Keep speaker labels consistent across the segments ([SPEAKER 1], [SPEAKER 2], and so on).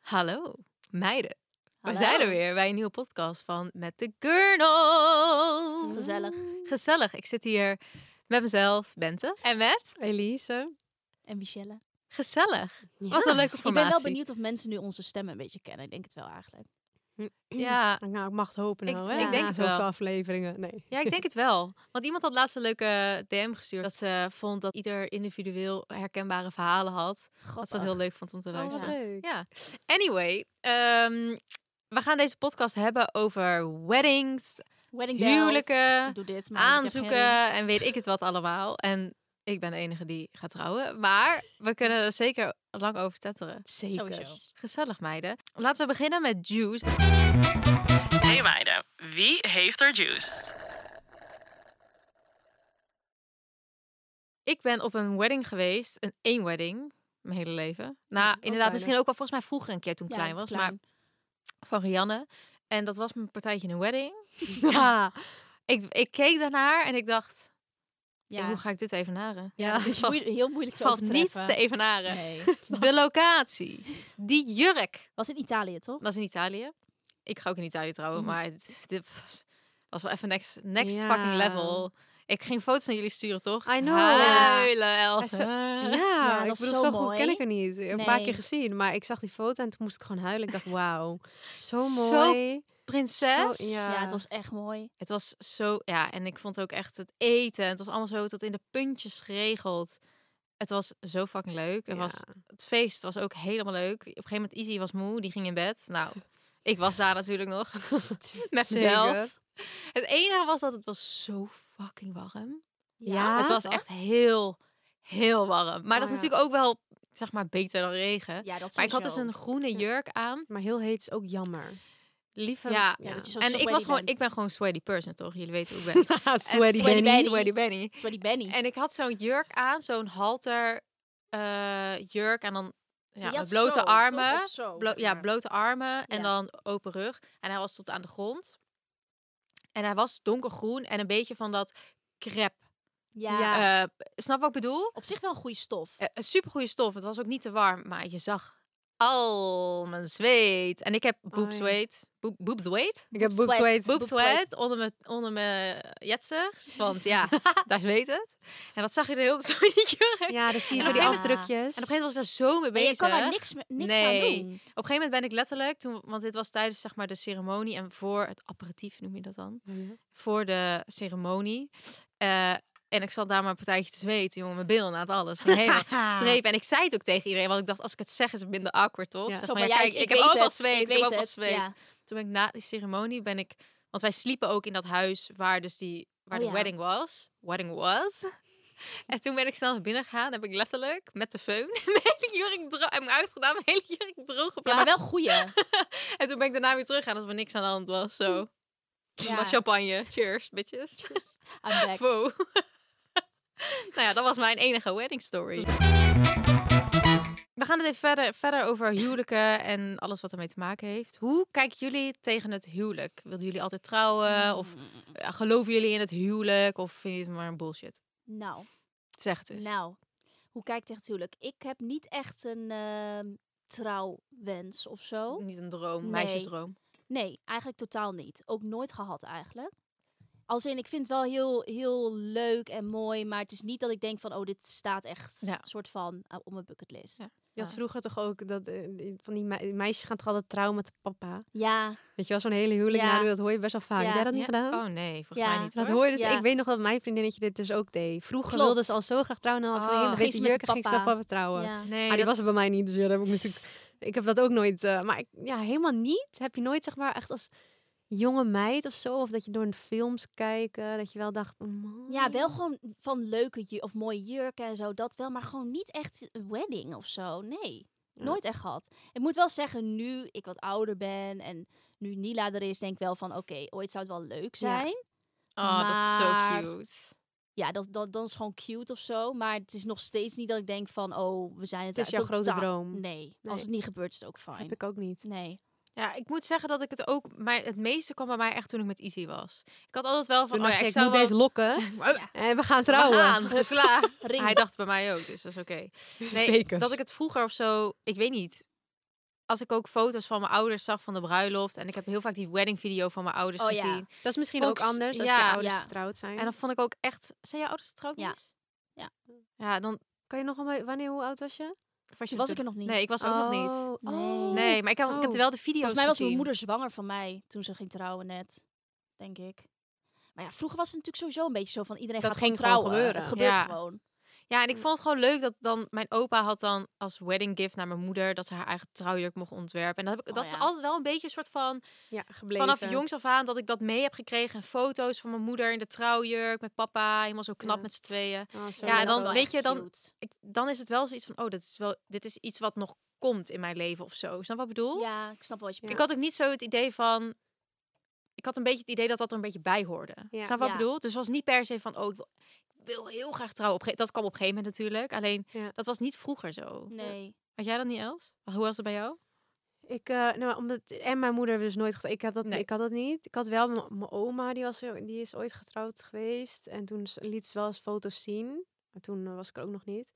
[SPEAKER 1] Hallo, meiden. We zijn er weer bij een nieuwe podcast van Met de Gurnels.
[SPEAKER 2] Gezellig.
[SPEAKER 1] Gezellig. Ik zit hier met mezelf, Bente. En met? Elise.
[SPEAKER 2] En Michelle.
[SPEAKER 1] Gezellig.
[SPEAKER 2] Ja.
[SPEAKER 1] Wat een leuke
[SPEAKER 2] Ik ben
[SPEAKER 1] formatie.
[SPEAKER 2] wel benieuwd of mensen nu onze stemmen een beetje kennen. Ik denk het wel eigenlijk.
[SPEAKER 1] Ja,
[SPEAKER 3] Nou, ik mag het hopen
[SPEAKER 1] Ik-
[SPEAKER 3] nou,
[SPEAKER 1] ik
[SPEAKER 3] hè?
[SPEAKER 1] denk
[SPEAKER 3] Na
[SPEAKER 1] het wel.
[SPEAKER 3] zoveel afleveringen. Nee.
[SPEAKER 1] ja, ik denk het wel. Want iemand had laatst een leuke DM gestuurd. Dat ze vond dat ieder individueel herkenbare verhalen had. Dat ze dat heel leuk vond om te
[SPEAKER 3] Oh, wat
[SPEAKER 1] luisteren.
[SPEAKER 3] leuk.
[SPEAKER 1] Ja. Anyway, ehm, we gaan deze podcast hebben over weddings,
[SPEAKER 2] Wedding bells.
[SPEAKER 1] Huwelijken,
[SPEAKER 2] Ik doe dit, maar ik heb geen-
[SPEAKER 1] aanzoeken en weet ik het wat allemaal. En ik ben de enige die gaat trouwen. Maar we kunnen er zeker lang over tetteren.
[SPEAKER 2] Sowieso.
[SPEAKER 1] Gezellig, meiden. Laten we beginnen met Juice.
[SPEAKER 4] Hey meiden, wie heeft er juice?
[SPEAKER 1] Ik ben op een wedding geweest, een één wedding, mijn hele leven. Nou, inderdaad,
[SPEAKER 3] bijna.
[SPEAKER 1] misschien ook al volgens mij vroeger een keer toen ik
[SPEAKER 2] Ja,
[SPEAKER 1] klein was, maar van Rianne. En dat was mijn partijtje in een wedding. Ja. Ik, ik keek daarnaar en ik dacht,
[SPEAKER 2] Ja.
[SPEAKER 1] hoe ga ik dit evenaren?
[SPEAKER 2] Ja, het is
[SPEAKER 1] valt-
[SPEAKER 2] moeie- heel moeilijk te
[SPEAKER 1] valt niet te
[SPEAKER 2] overtreffen.
[SPEAKER 1] evenaren.
[SPEAKER 2] Nee.
[SPEAKER 1] De locatie, die jurk.
[SPEAKER 2] Was in Italië, toch?
[SPEAKER 1] was in Italië. Ik ga ook in Italië trouwen,
[SPEAKER 2] Mhm.
[SPEAKER 1] maar het- dit pff, was wel even next, next
[SPEAKER 3] Ja.
[SPEAKER 1] fucking level. Ik ging foto's naar jullie sturen, toch?
[SPEAKER 3] I know.
[SPEAKER 1] Huilen, Elsa.
[SPEAKER 3] zo- Ja,
[SPEAKER 2] Ja,
[SPEAKER 3] ik
[SPEAKER 2] dat is
[SPEAKER 3] bedoel,
[SPEAKER 2] zo
[SPEAKER 3] zo, goed ken
[SPEAKER 2] mooi.
[SPEAKER 3] ik er niet. Een paar
[SPEAKER 2] Nee.
[SPEAKER 3] keer gezien, maar ik zag die foto en toen moest ik gewoon huilen. Ik dacht, wauw, zo
[SPEAKER 1] Zo
[SPEAKER 3] mooi.
[SPEAKER 1] Prinses.
[SPEAKER 3] Zo-
[SPEAKER 2] Ja.
[SPEAKER 3] Ja.
[SPEAKER 2] het was echt mooi.
[SPEAKER 1] Het was zo, ja, en ik vond ook echt het eten. Het was allemaal zo tot in de puntjes geregeld. Het was zo fucking leuk. Het,
[SPEAKER 3] Ja.
[SPEAKER 1] was, het feest was ook helemaal leuk. Op een gegeven moment, Izzy was moe, die ging in bed. Nou, ik was daar natuurlijk nog. Met mezelf.
[SPEAKER 3] Zeker.
[SPEAKER 1] Het enige was dat het was zo fucking warm.
[SPEAKER 3] Ja,
[SPEAKER 1] Het was
[SPEAKER 2] toch?
[SPEAKER 1] echt heel, heel warm. Maar dat is
[SPEAKER 3] ja.
[SPEAKER 1] natuurlijk ook wel, zeg maar, beter dan regen.
[SPEAKER 2] Ja, dat
[SPEAKER 1] maar ik had dus
[SPEAKER 2] sowieso.
[SPEAKER 1] een groene jurk aan.
[SPEAKER 3] Maar heel heet is ook jammer. Liever...
[SPEAKER 1] Ja.
[SPEAKER 2] Ja, dat je zo
[SPEAKER 1] En ik,
[SPEAKER 2] sweaty
[SPEAKER 1] was gewoon,
[SPEAKER 2] bent.
[SPEAKER 1] ik ben gewoon sweaty person, toch? Jullie weten hoe ik ben.
[SPEAKER 3] Sweaty
[SPEAKER 1] En-
[SPEAKER 2] Benny.
[SPEAKER 1] Sweaty Benny.
[SPEAKER 2] Sweaty Benny.
[SPEAKER 1] En ik had zo'n jurk aan, zo'n halter eh, jurk. En dan ja,
[SPEAKER 2] Die had
[SPEAKER 1] met blote
[SPEAKER 2] zo, toch?
[SPEAKER 1] armen.
[SPEAKER 2] Of zo,
[SPEAKER 1] Blo-
[SPEAKER 2] zeg
[SPEAKER 1] ja,
[SPEAKER 2] maar.
[SPEAKER 1] blote armen en
[SPEAKER 2] Ja.
[SPEAKER 1] dan open rug. En hij was tot aan de grond. En hij was donkergroen en een beetje van dat crepe.
[SPEAKER 2] Ja.
[SPEAKER 3] Ja.
[SPEAKER 1] Eh, snap wat ik bedoel?
[SPEAKER 2] Op zich wel een goede stof.
[SPEAKER 1] Eh, Een supergoeie stof. Het was ook niet te warm, maar je zag al mijn zweet. En ik heb boob
[SPEAKER 3] ja.
[SPEAKER 1] sweat. Boob, boob sweat?
[SPEAKER 3] Ik heb
[SPEAKER 2] Boob
[SPEAKER 3] boob
[SPEAKER 2] sweat.
[SPEAKER 3] sweat.
[SPEAKER 1] Boob
[SPEAKER 2] Boob sweat.
[SPEAKER 1] sweat onder mijn, onder mijn jetsers. Want ja, daar zweet het. En dat zag je de hele tijd zo in die jurk.
[SPEAKER 3] Ja, dan zie je
[SPEAKER 1] En
[SPEAKER 3] zo
[SPEAKER 1] op
[SPEAKER 3] die
[SPEAKER 1] een gegeven
[SPEAKER 3] afdrukjes.
[SPEAKER 1] En op een gegeven moment was ik daar zo mee
[SPEAKER 2] En
[SPEAKER 1] bezig.
[SPEAKER 2] je kan daar niks, me- niks
[SPEAKER 1] Nee.
[SPEAKER 2] aan doen.
[SPEAKER 1] Op een gegeven moment ben ik letterlijk, toen, want dit was tijdens zeg maar, de ceremonie en voor het aperitief noem je dat dan,
[SPEAKER 3] Oh, Ja.
[SPEAKER 1] voor de ceremonie. Eh, en ik zat daar maar een partijtje te zweten, jongen, mijn billen aan het alles. Gewoon helemaal strepen. En ik zei het ook tegen iedereen, want ik dacht, als ik het zeg is het minder awkward, toch?
[SPEAKER 3] Ja.
[SPEAKER 1] Zo
[SPEAKER 2] Zo
[SPEAKER 1] van, ja,
[SPEAKER 2] van, ja,
[SPEAKER 1] kijk, ik, heb
[SPEAKER 2] weet
[SPEAKER 1] overal
[SPEAKER 2] het,
[SPEAKER 1] zweet, ik,
[SPEAKER 2] weet
[SPEAKER 1] heb overal
[SPEAKER 2] het,
[SPEAKER 1] zweet.
[SPEAKER 2] ja.
[SPEAKER 1] Toen ben ik na die ceremonie, ben ik, want wij sliepen ook in dat huis waar dus die, waar
[SPEAKER 2] Oh
[SPEAKER 1] de
[SPEAKER 2] ja.
[SPEAKER 1] wedding was. Wedding was. En toen ben ik snel naar binnen gegaan, heb ik letterlijk met de föhn mijn hele jurk droog, heb ik hem uitgedaan, mijn hele jurk droog
[SPEAKER 2] Ja,
[SPEAKER 1] geblazen.
[SPEAKER 2] maar wel goede.
[SPEAKER 1] En toen ben ik daarna weer teruggegaan alsof er niks aan de hand was. Zo.
[SPEAKER 2] Ja.
[SPEAKER 1] Maar champagne. Cheers, bitches.
[SPEAKER 2] Dus I'm back.
[SPEAKER 1] Wow. nou ja, dat was mijn enige wedding story. We gaan het even verder, verder over huwelijken en alles wat ermee te maken heeft. Hoe kijken jullie tegen het huwelijk? Wilden jullie altijd trouwen?
[SPEAKER 3] Hmm.
[SPEAKER 2] Mm.
[SPEAKER 1] Of eh, geloven jullie in het huwelijk? Of vind je het maar een bullshit?
[SPEAKER 2] Nou,
[SPEAKER 1] Zeg het eens.
[SPEAKER 2] nou. Hoe kijk ik tegen het huwelijk? Ik heb niet echt een ehm, trouwwens of zo.
[SPEAKER 1] Niet een droom,
[SPEAKER 2] Nee.
[SPEAKER 1] meisjesdroom.
[SPEAKER 2] Nee, eigenlijk totaal niet. Ook nooit gehad eigenlijk. Als in, ik vind het wel heel, heel leuk en mooi, maar het is niet dat ik denk van, oh, dit staat echt
[SPEAKER 1] Ja.
[SPEAKER 2] soort van eh, op mijn bucketlist.
[SPEAKER 1] Ja.
[SPEAKER 2] Ja.
[SPEAKER 3] Je had vroeger toch ook dat eh, die- van die me- meisjes gaan toch altijd trouwen met de papa.
[SPEAKER 2] ja.
[SPEAKER 3] Weet je wel, zo'n hele huwelijk
[SPEAKER 2] Ja.
[SPEAKER 3] nadoen, dat hoor je best wel vaak.
[SPEAKER 2] Ja.
[SPEAKER 3] Heb jij dat niet
[SPEAKER 1] Ja?
[SPEAKER 3] gedaan?
[SPEAKER 1] Oh nee, volgens
[SPEAKER 2] Ja,
[SPEAKER 1] mij niet.
[SPEAKER 3] Dat
[SPEAKER 1] hoor.
[SPEAKER 3] hoor je dus.
[SPEAKER 2] Ja.
[SPEAKER 3] Ik weet nog dat mijn vriendinnetje dit dus ook deed. Vroeger
[SPEAKER 2] Klopt.
[SPEAKER 3] wilde ze al zo graag trouwen. En dan had ze
[SPEAKER 1] Oh.
[SPEAKER 3] een hele
[SPEAKER 2] Ging ze
[SPEAKER 3] witte
[SPEAKER 2] met de
[SPEAKER 3] jurk en ging ze met
[SPEAKER 2] papa.
[SPEAKER 3] papa trouwen.
[SPEAKER 1] Nee,
[SPEAKER 3] maar die
[SPEAKER 1] dat-
[SPEAKER 3] was er bij mij niet. Dus ja, dat heb ik, natuurlijk- ik heb dat ook nooit. eh, maar ik, ja, helemaal niet. Heb je nooit zeg maar echt als jonge meid of zo. Of dat je door een films kijkt. eh, dat je wel dacht. oh man.
[SPEAKER 2] Ja, wel gewoon van leuke ju- of mooie jurken en zo, dat wel. Maar gewoon niet echt een wedding of zo, nee. Nooit echt gehad. Ik moet wel zeggen, nu ik wat ouder ben en nu Nila er is, denk ik wel van, oké, ooit zou het wel leuk zijn.
[SPEAKER 1] Oh, dat is
[SPEAKER 2] Maar-
[SPEAKER 1] zo cute.
[SPEAKER 2] ja, dat, dat, dan is gewoon cute of zo. Maar het is nog steeds niet dat ik denk van, oh, we zijn het
[SPEAKER 3] Het is jouw grote
[SPEAKER 2] totaal- Nee,
[SPEAKER 3] droom. Nee.
[SPEAKER 2] als het niet gebeurt is het ook fijn.
[SPEAKER 3] Heb ik ook niet.
[SPEAKER 2] Nee.
[SPEAKER 1] Ja, ik moet zeggen dat ik het ook... Maar het meeste kwam bij mij echt toen ik met Izzy was. Ik had altijd wel van...
[SPEAKER 3] Toen
[SPEAKER 1] oh,
[SPEAKER 3] dacht
[SPEAKER 1] ja,
[SPEAKER 3] je,
[SPEAKER 1] ik
[SPEAKER 3] ik
[SPEAKER 1] zou
[SPEAKER 3] moet
[SPEAKER 1] wel...
[SPEAKER 3] deze lokken.
[SPEAKER 1] Ja.
[SPEAKER 3] En we gaan
[SPEAKER 1] We
[SPEAKER 3] trouwen.
[SPEAKER 1] gaan, geslaagd.
[SPEAKER 2] Ring.
[SPEAKER 1] Hij dacht bij mij ook, dus dat is oké. Nee,
[SPEAKER 3] Zeker.
[SPEAKER 1] Dat ik het vroeger of zo, ik weet niet. Als ik ook foto's van mijn ouders zag van de bruiloft. En ik heb heel vaak die wedding video van mijn ouders
[SPEAKER 2] Oh ja.
[SPEAKER 1] gezien.
[SPEAKER 3] Dat is misschien
[SPEAKER 1] Vond
[SPEAKER 3] ook
[SPEAKER 1] ik s-
[SPEAKER 3] anders als
[SPEAKER 1] ja.
[SPEAKER 3] je ouders
[SPEAKER 2] Ja.
[SPEAKER 3] getrouwd zijn.
[SPEAKER 1] En dan vond ik ook echt. Zijn je ouders getrouwd?
[SPEAKER 2] Ja.
[SPEAKER 1] Mies?
[SPEAKER 2] Ja.
[SPEAKER 1] Ja, dan
[SPEAKER 3] Kan je nog een wanneer hoe oud was je?
[SPEAKER 1] was je
[SPEAKER 2] was
[SPEAKER 1] er
[SPEAKER 2] ik er nog niet.
[SPEAKER 1] Nee, ik was ook nog niet.
[SPEAKER 3] Oh,
[SPEAKER 2] Nee.
[SPEAKER 1] Nee, maar ik heb, ik heb
[SPEAKER 3] Oh.
[SPEAKER 1] wel de video's
[SPEAKER 2] Volgens mij was mijn
[SPEAKER 1] gezien.
[SPEAKER 2] moeder zwanger van mij toen ze ging trouwen net, denk ik. Maar ja, vroeger was het natuurlijk sowieso een beetje zo van iedereen
[SPEAKER 3] Dat
[SPEAKER 2] gaat
[SPEAKER 3] ging
[SPEAKER 2] gewoon
[SPEAKER 3] gewoon
[SPEAKER 2] trouwen.
[SPEAKER 3] gebeuren.
[SPEAKER 2] Het gebeurt
[SPEAKER 1] Ja.
[SPEAKER 2] gewoon.
[SPEAKER 1] Ja,
[SPEAKER 2] Mm.
[SPEAKER 1] en ik vond het gewoon leuk dat dan mijn opa had dan als wedding gift naar mijn moeder dat ze haar eigen trouwjurk mocht ontwerpen. En dat, heb ik,
[SPEAKER 2] Oh
[SPEAKER 1] dat is
[SPEAKER 2] ja.
[SPEAKER 1] altijd wel een beetje een soort van
[SPEAKER 3] Ja, gebleven.
[SPEAKER 1] vanaf jongs af aan dat ik dat mee heb gekregen. En foto's van mijn moeder in de trouwjurk met papa, helemaal zo knap
[SPEAKER 3] Ja.
[SPEAKER 1] met z'n tweeën.
[SPEAKER 3] Oh, zo
[SPEAKER 1] Ja, dan
[SPEAKER 3] leuk.
[SPEAKER 2] Dat is wel
[SPEAKER 1] weet
[SPEAKER 2] echt
[SPEAKER 1] je, dan-
[SPEAKER 2] cute.
[SPEAKER 1] ik, dan is het wel zoiets van, oh, dit is, wel, dit is iets wat nog komt in mijn leven of zo. Snap je wat ik bedoel?
[SPEAKER 2] Ja, ik snap wel wat je
[SPEAKER 3] Ja.
[SPEAKER 1] Ik
[SPEAKER 2] bedoelt.
[SPEAKER 1] had ook niet zo het idee van... Ik had een beetje het idee dat dat er een beetje bij hoorde.
[SPEAKER 3] Ja.
[SPEAKER 1] Snap je wat
[SPEAKER 2] Ja.
[SPEAKER 1] ik bedoel? Dus het was niet per se van, oh, ik wil, ik wil heel graag trouwen. Op ge- dat kwam op een gegeven moment natuurlijk. Alleen,
[SPEAKER 3] Ja.
[SPEAKER 1] dat was niet vroeger zo.
[SPEAKER 2] Nee.
[SPEAKER 1] Had jij dat niet, Els? Hoe was het bij jou?
[SPEAKER 3] Ik, eh, nou, maar omdat, en mijn moeder dus nooit getrouwd. Ik had dat,
[SPEAKER 1] Nee.
[SPEAKER 3] ik had dat niet. Ik had wel mijn mijn oma, die, was, die is ooit getrouwd geweest. En toen s- liet ze wel eens foto's zien. Maar toen eh, was ik er ook nog niet.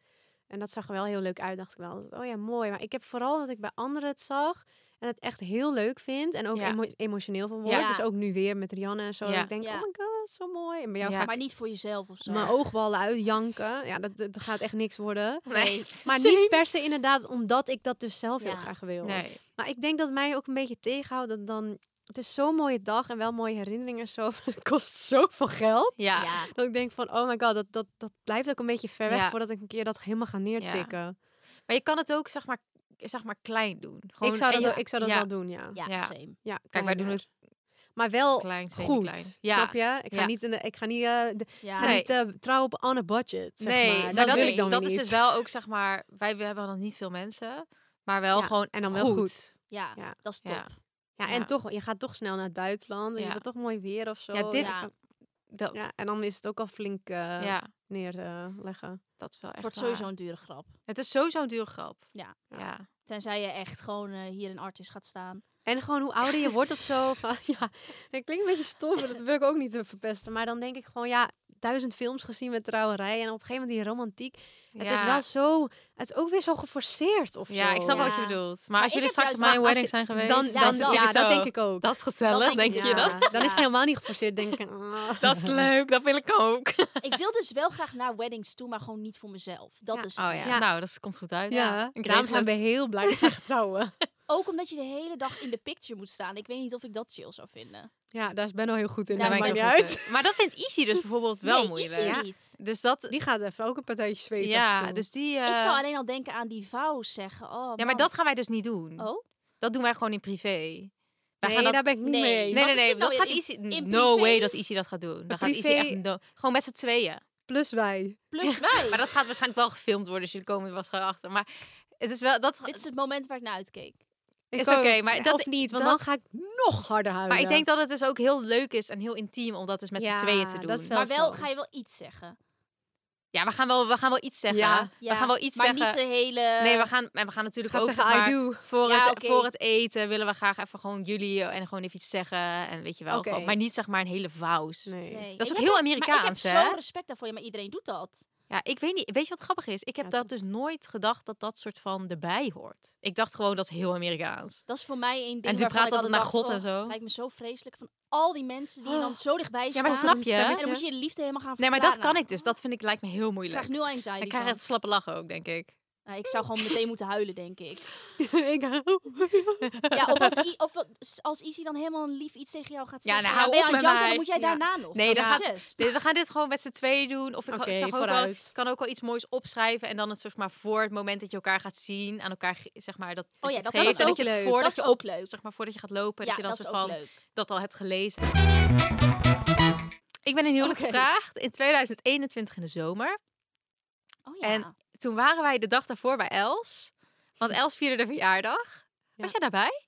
[SPEAKER 3] En dat zag er wel heel leuk uit, dacht ik wel. Dat- Oh ja, mooi. Maar ik heb vooral dat ik bij anderen het zag. En het echt heel leuk vind. En ook
[SPEAKER 1] Ja.
[SPEAKER 3] emo- emotioneel van word.
[SPEAKER 1] Ja.
[SPEAKER 3] Dus ook nu weer met Rianne en zo.
[SPEAKER 1] Ja.
[SPEAKER 3] Ik denk,
[SPEAKER 2] Ja.
[SPEAKER 3] oh my god, zo mooi. En bij jou
[SPEAKER 1] Ja.
[SPEAKER 3] ga ik
[SPEAKER 2] Maar niet voor jezelf of zo.
[SPEAKER 3] mijn oogballen uit, janken. Ja, dat, dat gaat echt niks worden.
[SPEAKER 1] Nee.
[SPEAKER 3] Maar niet per se inderdaad omdat ik dat dus zelf heel
[SPEAKER 2] Ja.
[SPEAKER 3] graag wil.
[SPEAKER 1] Nee.
[SPEAKER 3] Maar ik denk dat mij ook een beetje tegenhoudt dat dan... Het is zo'n mooie dag en wel mooie herinneringen en zo. maar Het kost zoveel geld.
[SPEAKER 1] Ja.
[SPEAKER 2] Ja.
[SPEAKER 3] Dat ik denk van, oh my god, dat, dat, dat blijft ook een beetje ver weg
[SPEAKER 1] Ja.
[SPEAKER 3] voordat ik een keer dat helemaal ga neertikken.
[SPEAKER 1] Maar je kan het ook, zeg maar, zeg maar klein doen. Gewoon-
[SPEAKER 3] Ik zou
[SPEAKER 1] en
[SPEAKER 3] dat,
[SPEAKER 1] je-
[SPEAKER 3] wel- ik zou dat
[SPEAKER 1] ja.
[SPEAKER 3] wel doen, ja.
[SPEAKER 2] Ja,
[SPEAKER 1] Ja.
[SPEAKER 2] same.
[SPEAKER 3] Ja,
[SPEAKER 1] Kijk, wij
[SPEAKER 3] kleiner.
[SPEAKER 1] doen het
[SPEAKER 3] Maar wel
[SPEAKER 1] klein,
[SPEAKER 3] Oh, goed,
[SPEAKER 1] semi-klein.
[SPEAKER 3] snap je? Ik ga
[SPEAKER 1] Ja.
[SPEAKER 3] niet, in de, ik ga niet, eh, de-
[SPEAKER 2] Ja.
[SPEAKER 3] ga
[SPEAKER 1] Nee.
[SPEAKER 3] niet eh, trouwen op on a budget, zeg
[SPEAKER 1] nee,
[SPEAKER 3] maar.
[SPEAKER 1] maar
[SPEAKER 3] Dat,
[SPEAKER 1] dat,
[SPEAKER 3] wil
[SPEAKER 1] is,
[SPEAKER 3] ik dan
[SPEAKER 1] dat
[SPEAKER 3] weer
[SPEAKER 1] is
[SPEAKER 3] niet.
[SPEAKER 1] dus wel ook, zeg maar, wij we hebben dan niet veel mensen, maar wel
[SPEAKER 3] Ja,
[SPEAKER 1] gewoon
[SPEAKER 3] En dan wel goed.
[SPEAKER 2] Ja,
[SPEAKER 3] Ja.
[SPEAKER 2] dat is top.
[SPEAKER 1] Ja.
[SPEAKER 3] Ja, en
[SPEAKER 1] Ja.
[SPEAKER 3] toch, je gaat toch snel naar het buitenland. En
[SPEAKER 1] Ja.
[SPEAKER 3] Je hebt toch mooi weer of zo.
[SPEAKER 1] Ja, dit
[SPEAKER 3] ja.
[SPEAKER 2] is-
[SPEAKER 1] Dat, ja.
[SPEAKER 3] Ja, en dan is het ook al flink eh, neerleggen.
[SPEAKER 1] dat is wel echt
[SPEAKER 2] Wordt
[SPEAKER 1] waar.
[SPEAKER 2] sowieso een dure grap.
[SPEAKER 1] Het is sowieso een dure grap.
[SPEAKER 2] Ja.
[SPEAKER 1] Ja.
[SPEAKER 2] Tenzij je echt gewoon eh, hier in Artis gaat staan.
[SPEAKER 3] en gewoon hoe ouder je wordt of zo. Van, ja, het klinkt een beetje stom, maar dat wil ik ook niet eh, verpesten. Maar dan denk ik gewoon, ja, duizend films gezien met trouwerij. En op een gegeven moment die romantiek. Het is
[SPEAKER 1] Ja.
[SPEAKER 3] wel zo, het is ook weer zo geforceerd of
[SPEAKER 1] Ja,
[SPEAKER 3] zo.
[SPEAKER 1] ik snap wel
[SPEAKER 2] Ja.
[SPEAKER 1] wat je bedoelt. Maar,
[SPEAKER 2] Maar
[SPEAKER 1] als
[SPEAKER 2] ik
[SPEAKER 1] jullie
[SPEAKER 2] heb
[SPEAKER 1] straks op
[SPEAKER 2] juist-
[SPEAKER 1] mijn
[SPEAKER 2] maar als
[SPEAKER 1] wedding zijn
[SPEAKER 3] Dan,
[SPEAKER 1] geweest,
[SPEAKER 3] dan,
[SPEAKER 2] Ja,
[SPEAKER 3] ja,
[SPEAKER 2] dat-
[SPEAKER 1] is
[SPEAKER 2] ja,
[SPEAKER 1] het
[SPEAKER 3] dat
[SPEAKER 1] zo.
[SPEAKER 3] denk ik ook.
[SPEAKER 1] Dat is gezellig,
[SPEAKER 2] Dat denk
[SPEAKER 1] denk
[SPEAKER 2] ik
[SPEAKER 1] je
[SPEAKER 2] ja.
[SPEAKER 1] dat?
[SPEAKER 3] Dan is het
[SPEAKER 2] Ja.
[SPEAKER 3] helemaal niet geforceerd. denk ik, ah.
[SPEAKER 1] Dat is leuk, dat wil ik ook. Oh
[SPEAKER 2] ik wil dus wel graag naar weddings toe, maar gewoon niet voor mezelf. Dat
[SPEAKER 3] Ja.
[SPEAKER 2] is het
[SPEAKER 1] ja,
[SPEAKER 2] meer.
[SPEAKER 1] nou, dat komt goed uit.
[SPEAKER 3] Ja,
[SPEAKER 1] Ik
[SPEAKER 3] daarom
[SPEAKER 1] regel
[SPEAKER 3] zijn
[SPEAKER 1] het.
[SPEAKER 3] we heel blij dat we gaan trouwen.
[SPEAKER 2] Ook omdat je de hele dag in de picture moet staan. Ik weet niet of ik dat chill zou vinden.
[SPEAKER 3] Ja, daar is Ben al heel goed in.
[SPEAKER 2] Daar
[SPEAKER 3] dat
[SPEAKER 1] Daar ben
[SPEAKER 3] maakt
[SPEAKER 1] ik
[SPEAKER 3] niet
[SPEAKER 1] heel goed dus
[SPEAKER 3] uit.
[SPEAKER 1] in. Maar dat vindt Izzy dus bijvoorbeeld wel
[SPEAKER 2] nee,
[SPEAKER 1] moeilijk.
[SPEAKER 2] is
[SPEAKER 1] Ja.
[SPEAKER 2] hier niet.
[SPEAKER 1] Dus dat,
[SPEAKER 3] Die gaat even ook een partijtje zweten. af en
[SPEAKER 1] ja,
[SPEAKER 3] toe.
[SPEAKER 1] dus die...
[SPEAKER 2] Ik
[SPEAKER 1] eh,
[SPEAKER 2] zou alleen al denken aan die vouw zeggen. Oh,
[SPEAKER 1] ja, maar
[SPEAKER 2] man.
[SPEAKER 1] dat gaan wij dus niet doen.
[SPEAKER 2] Oh,
[SPEAKER 1] Dat doen wij gewoon in privé. Wij
[SPEAKER 3] nee,
[SPEAKER 1] gaan dat
[SPEAKER 3] daar ben ik niet
[SPEAKER 2] Nee.
[SPEAKER 3] mee eens.
[SPEAKER 1] Nee,
[SPEAKER 2] Wat
[SPEAKER 1] nee,
[SPEAKER 2] is
[SPEAKER 1] nee.
[SPEAKER 2] dit
[SPEAKER 1] Dat
[SPEAKER 2] nou
[SPEAKER 1] gaat
[SPEAKER 2] in-
[SPEAKER 1] Izzy...
[SPEAKER 2] in
[SPEAKER 1] No
[SPEAKER 2] privé?
[SPEAKER 1] way dat Izzy dat gaat doen. Dat gaat Izzy
[SPEAKER 3] privé-
[SPEAKER 1] echt... no- Gewoon met z'n tweeën.
[SPEAKER 3] Plus wij.
[SPEAKER 2] plus wij.
[SPEAKER 1] Maar dat gaat waarschijnlijk wel gefilmd worden. Dus jullie komen er waarschijnlijk achter. Maar het is wel... Dat...
[SPEAKER 2] Dit is het moment waar ik naar uitkeek.
[SPEAKER 3] Ik
[SPEAKER 1] Is
[SPEAKER 3] ook.
[SPEAKER 1] oké, maar
[SPEAKER 3] Ja,
[SPEAKER 1] dat-
[SPEAKER 3] of niet, want
[SPEAKER 1] dat-
[SPEAKER 3] dan ga ik nog harder huilen.
[SPEAKER 1] Maar ik denk dat het dus ook heel leuk is en heel intiem om dat dus met
[SPEAKER 3] Oh, Ja,
[SPEAKER 1] z'n tweeën te doen.
[SPEAKER 3] dat is wel-
[SPEAKER 2] Maar wel
[SPEAKER 3] zo.
[SPEAKER 2] ga je wel iets zeggen.
[SPEAKER 1] Ja, we gaan wel, we gaan wel iets zeggen.
[SPEAKER 3] Ja.
[SPEAKER 2] Ja,
[SPEAKER 1] We gaan wel iets
[SPEAKER 2] maar
[SPEAKER 1] zeggen.
[SPEAKER 2] niet eh, de hele...
[SPEAKER 1] Nee, we gaan, en we gaan natuurlijk
[SPEAKER 3] Ze
[SPEAKER 1] ook
[SPEAKER 3] gaat zeggen,
[SPEAKER 1] zeg maar,
[SPEAKER 3] I do.
[SPEAKER 1] Voor,
[SPEAKER 2] Ja,
[SPEAKER 1] het,
[SPEAKER 2] oké.
[SPEAKER 1] voor het eten willen we graag even gewoon jullie en gewoon even iets zeggen. En weet je wel,
[SPEAKER 3] Oké.
[SPEAKER 1] gewoon- maar niet zeg maar een hele vaus.
[SPEAKER 3] Nee.
[SPEAKER 2] Nee.
[SPEAKER 1] Dat is
[SPEAKER 2] Ik
[SPEAKER 1] ook
[SPEAKER 2] heb
[SPEAKER 1] heel
[SPEAKER 2] dat-
[SPEAKER 1] Amerikaans,
[SPEAKER 2] Maar ik heb
[SPEAKER 1] hè?
[SPEAKER 2] zo respect daarvoor. Ja, maar iedereen doet dat.
[SPEAKER 1] Ja, ik weet niet. Weet je wat grappig is? Ik heb
[SPEAKER 3] Ja,
[SPEAKER 1] dat dus nooit gedacht dat dat soort van erbij hoort. Ik dacht gewoon dat is heel Amerikaans.
[SPEAKER 2] Dat is voor mij één ding
[SPEAKER 1] die
[SPEAKER 2] waarvan
[SPEAKER 1] praat
[SPEAKER 2] ik
[SPEAKER 1] altijd naar
[SPEAKER 2] dacht,
[SPEAKER 1] God en
[SPEAKER 2] oh,
[SPEAKER 1] zo.
[SPEAKER 2] Lijkt me zo vreselijk van al die mensen die dan zo dichtbij
[SPEAKER 1] Ja,
[SPEAKER 2] staan.
[SPEAKER 1] maar snap je?
[SPEAKER 2] En dan moet je de liefde helemaal gaan
[SPEAKER 1] Nee, maar
[SPEAKER 2] verklaren.
[SPEAKER 1] dat kan ik dus. Dat vind ik lijkt me heel
[SPEAKER 2] nou, oh. Ik
[SPEAKER 1] moeilijk.
[SPEAKER 2] krijg nu al anxiety
[SPEAKER 1] Ik krijg
[SPEAKER 2] van.
[SPEAKER 1] het slappe lachen ook, denk ik.
[SPEAKER 2] Nou, ik zou gewoon meteen moeten huilen, denk ik.
[SPEAKER 3] ik hou.
[SPEAKER 2] Ja, of als, I, of als Izzy dan helemaal lief iets tegen jou gaat
[SPEAKER 1] Ja, nou,
[SPEAKER 2] zeggen. dan
[SPEAKER 1] hou
[SPEAKER 2] ben je
[SPEAKER 1] op
[SPEAKER 2] aan het
[SPEAKER 1] met
[SPEAKER 2] janken, dan
[SPEAKER 1] mij.
[SPEAKER 2] moet jij
[SPEAKER 3] Ja.
[SPEAKER 2] daarna nog. Oh,
[SPEAKER 1] Nee,
[SPEAKER 2] dat
[SPEAKER 1] dat
[SPEAKER 2] is
[SPEAKER 1] gaat-
[SPEAKER 2] zes.
[SPEAKER 1] Dit- We gaan dit gewoon met z'n tweeën doen. Of ik
[SPEAKER 3] Oké,
[SPEAKER 1] zag ook wel,
[SPEAKER 3] vooruit.
[SPEAKER 1] ik kan ook wel iets moois opschrijven. En dan het soort maar voor het moment dat je elkaar gaat zien. Aan elkaar, ge- zeg maar, dat, dat
[SPEAKER 2] Oh ja,
[SPEAKER 1] je het
[SPEAKER 2] dat- dat
[SPEAKER 1] geeft.
[SPEAKER 2] is
[SPEAKER 1] en
[SPEAKER 2] ook
[SPEAKER 1] je het
[SPEAKER 2] leuk.
[SPEAKER 1] voordat
[SPEAKER 2] Dat is
[SPEAKER 1] je
[SPEAKER 2] ook leuk.
[SPEAKER 1] Zeg maar, voordat je gaat lopen.
[SPEAKER 2] Ja,
[SPEAKER 1] dat je dan
[SPEAKER 2] dat is
[SPEAKER 1] soort
[SPEAKER 2] ook
[SPEAKER 1] van
[SPEAKER 2] leuk.
[SPEAKER 1] dat al hebt gelezen. Ik ben in huwelijk
[SPEAKER 2] Oké.
[SPEAKER 1] gevraagd in 2021 in de zomer.
[SPEAKER 2] Oh ja.
[SPEAKER 1] En toen waren wij de dag daarvoor bij Els. Want Els vierde de verjaardag.
[SPEAKER 3] Ja.
[SPEAKER 1] Was jij daarbij?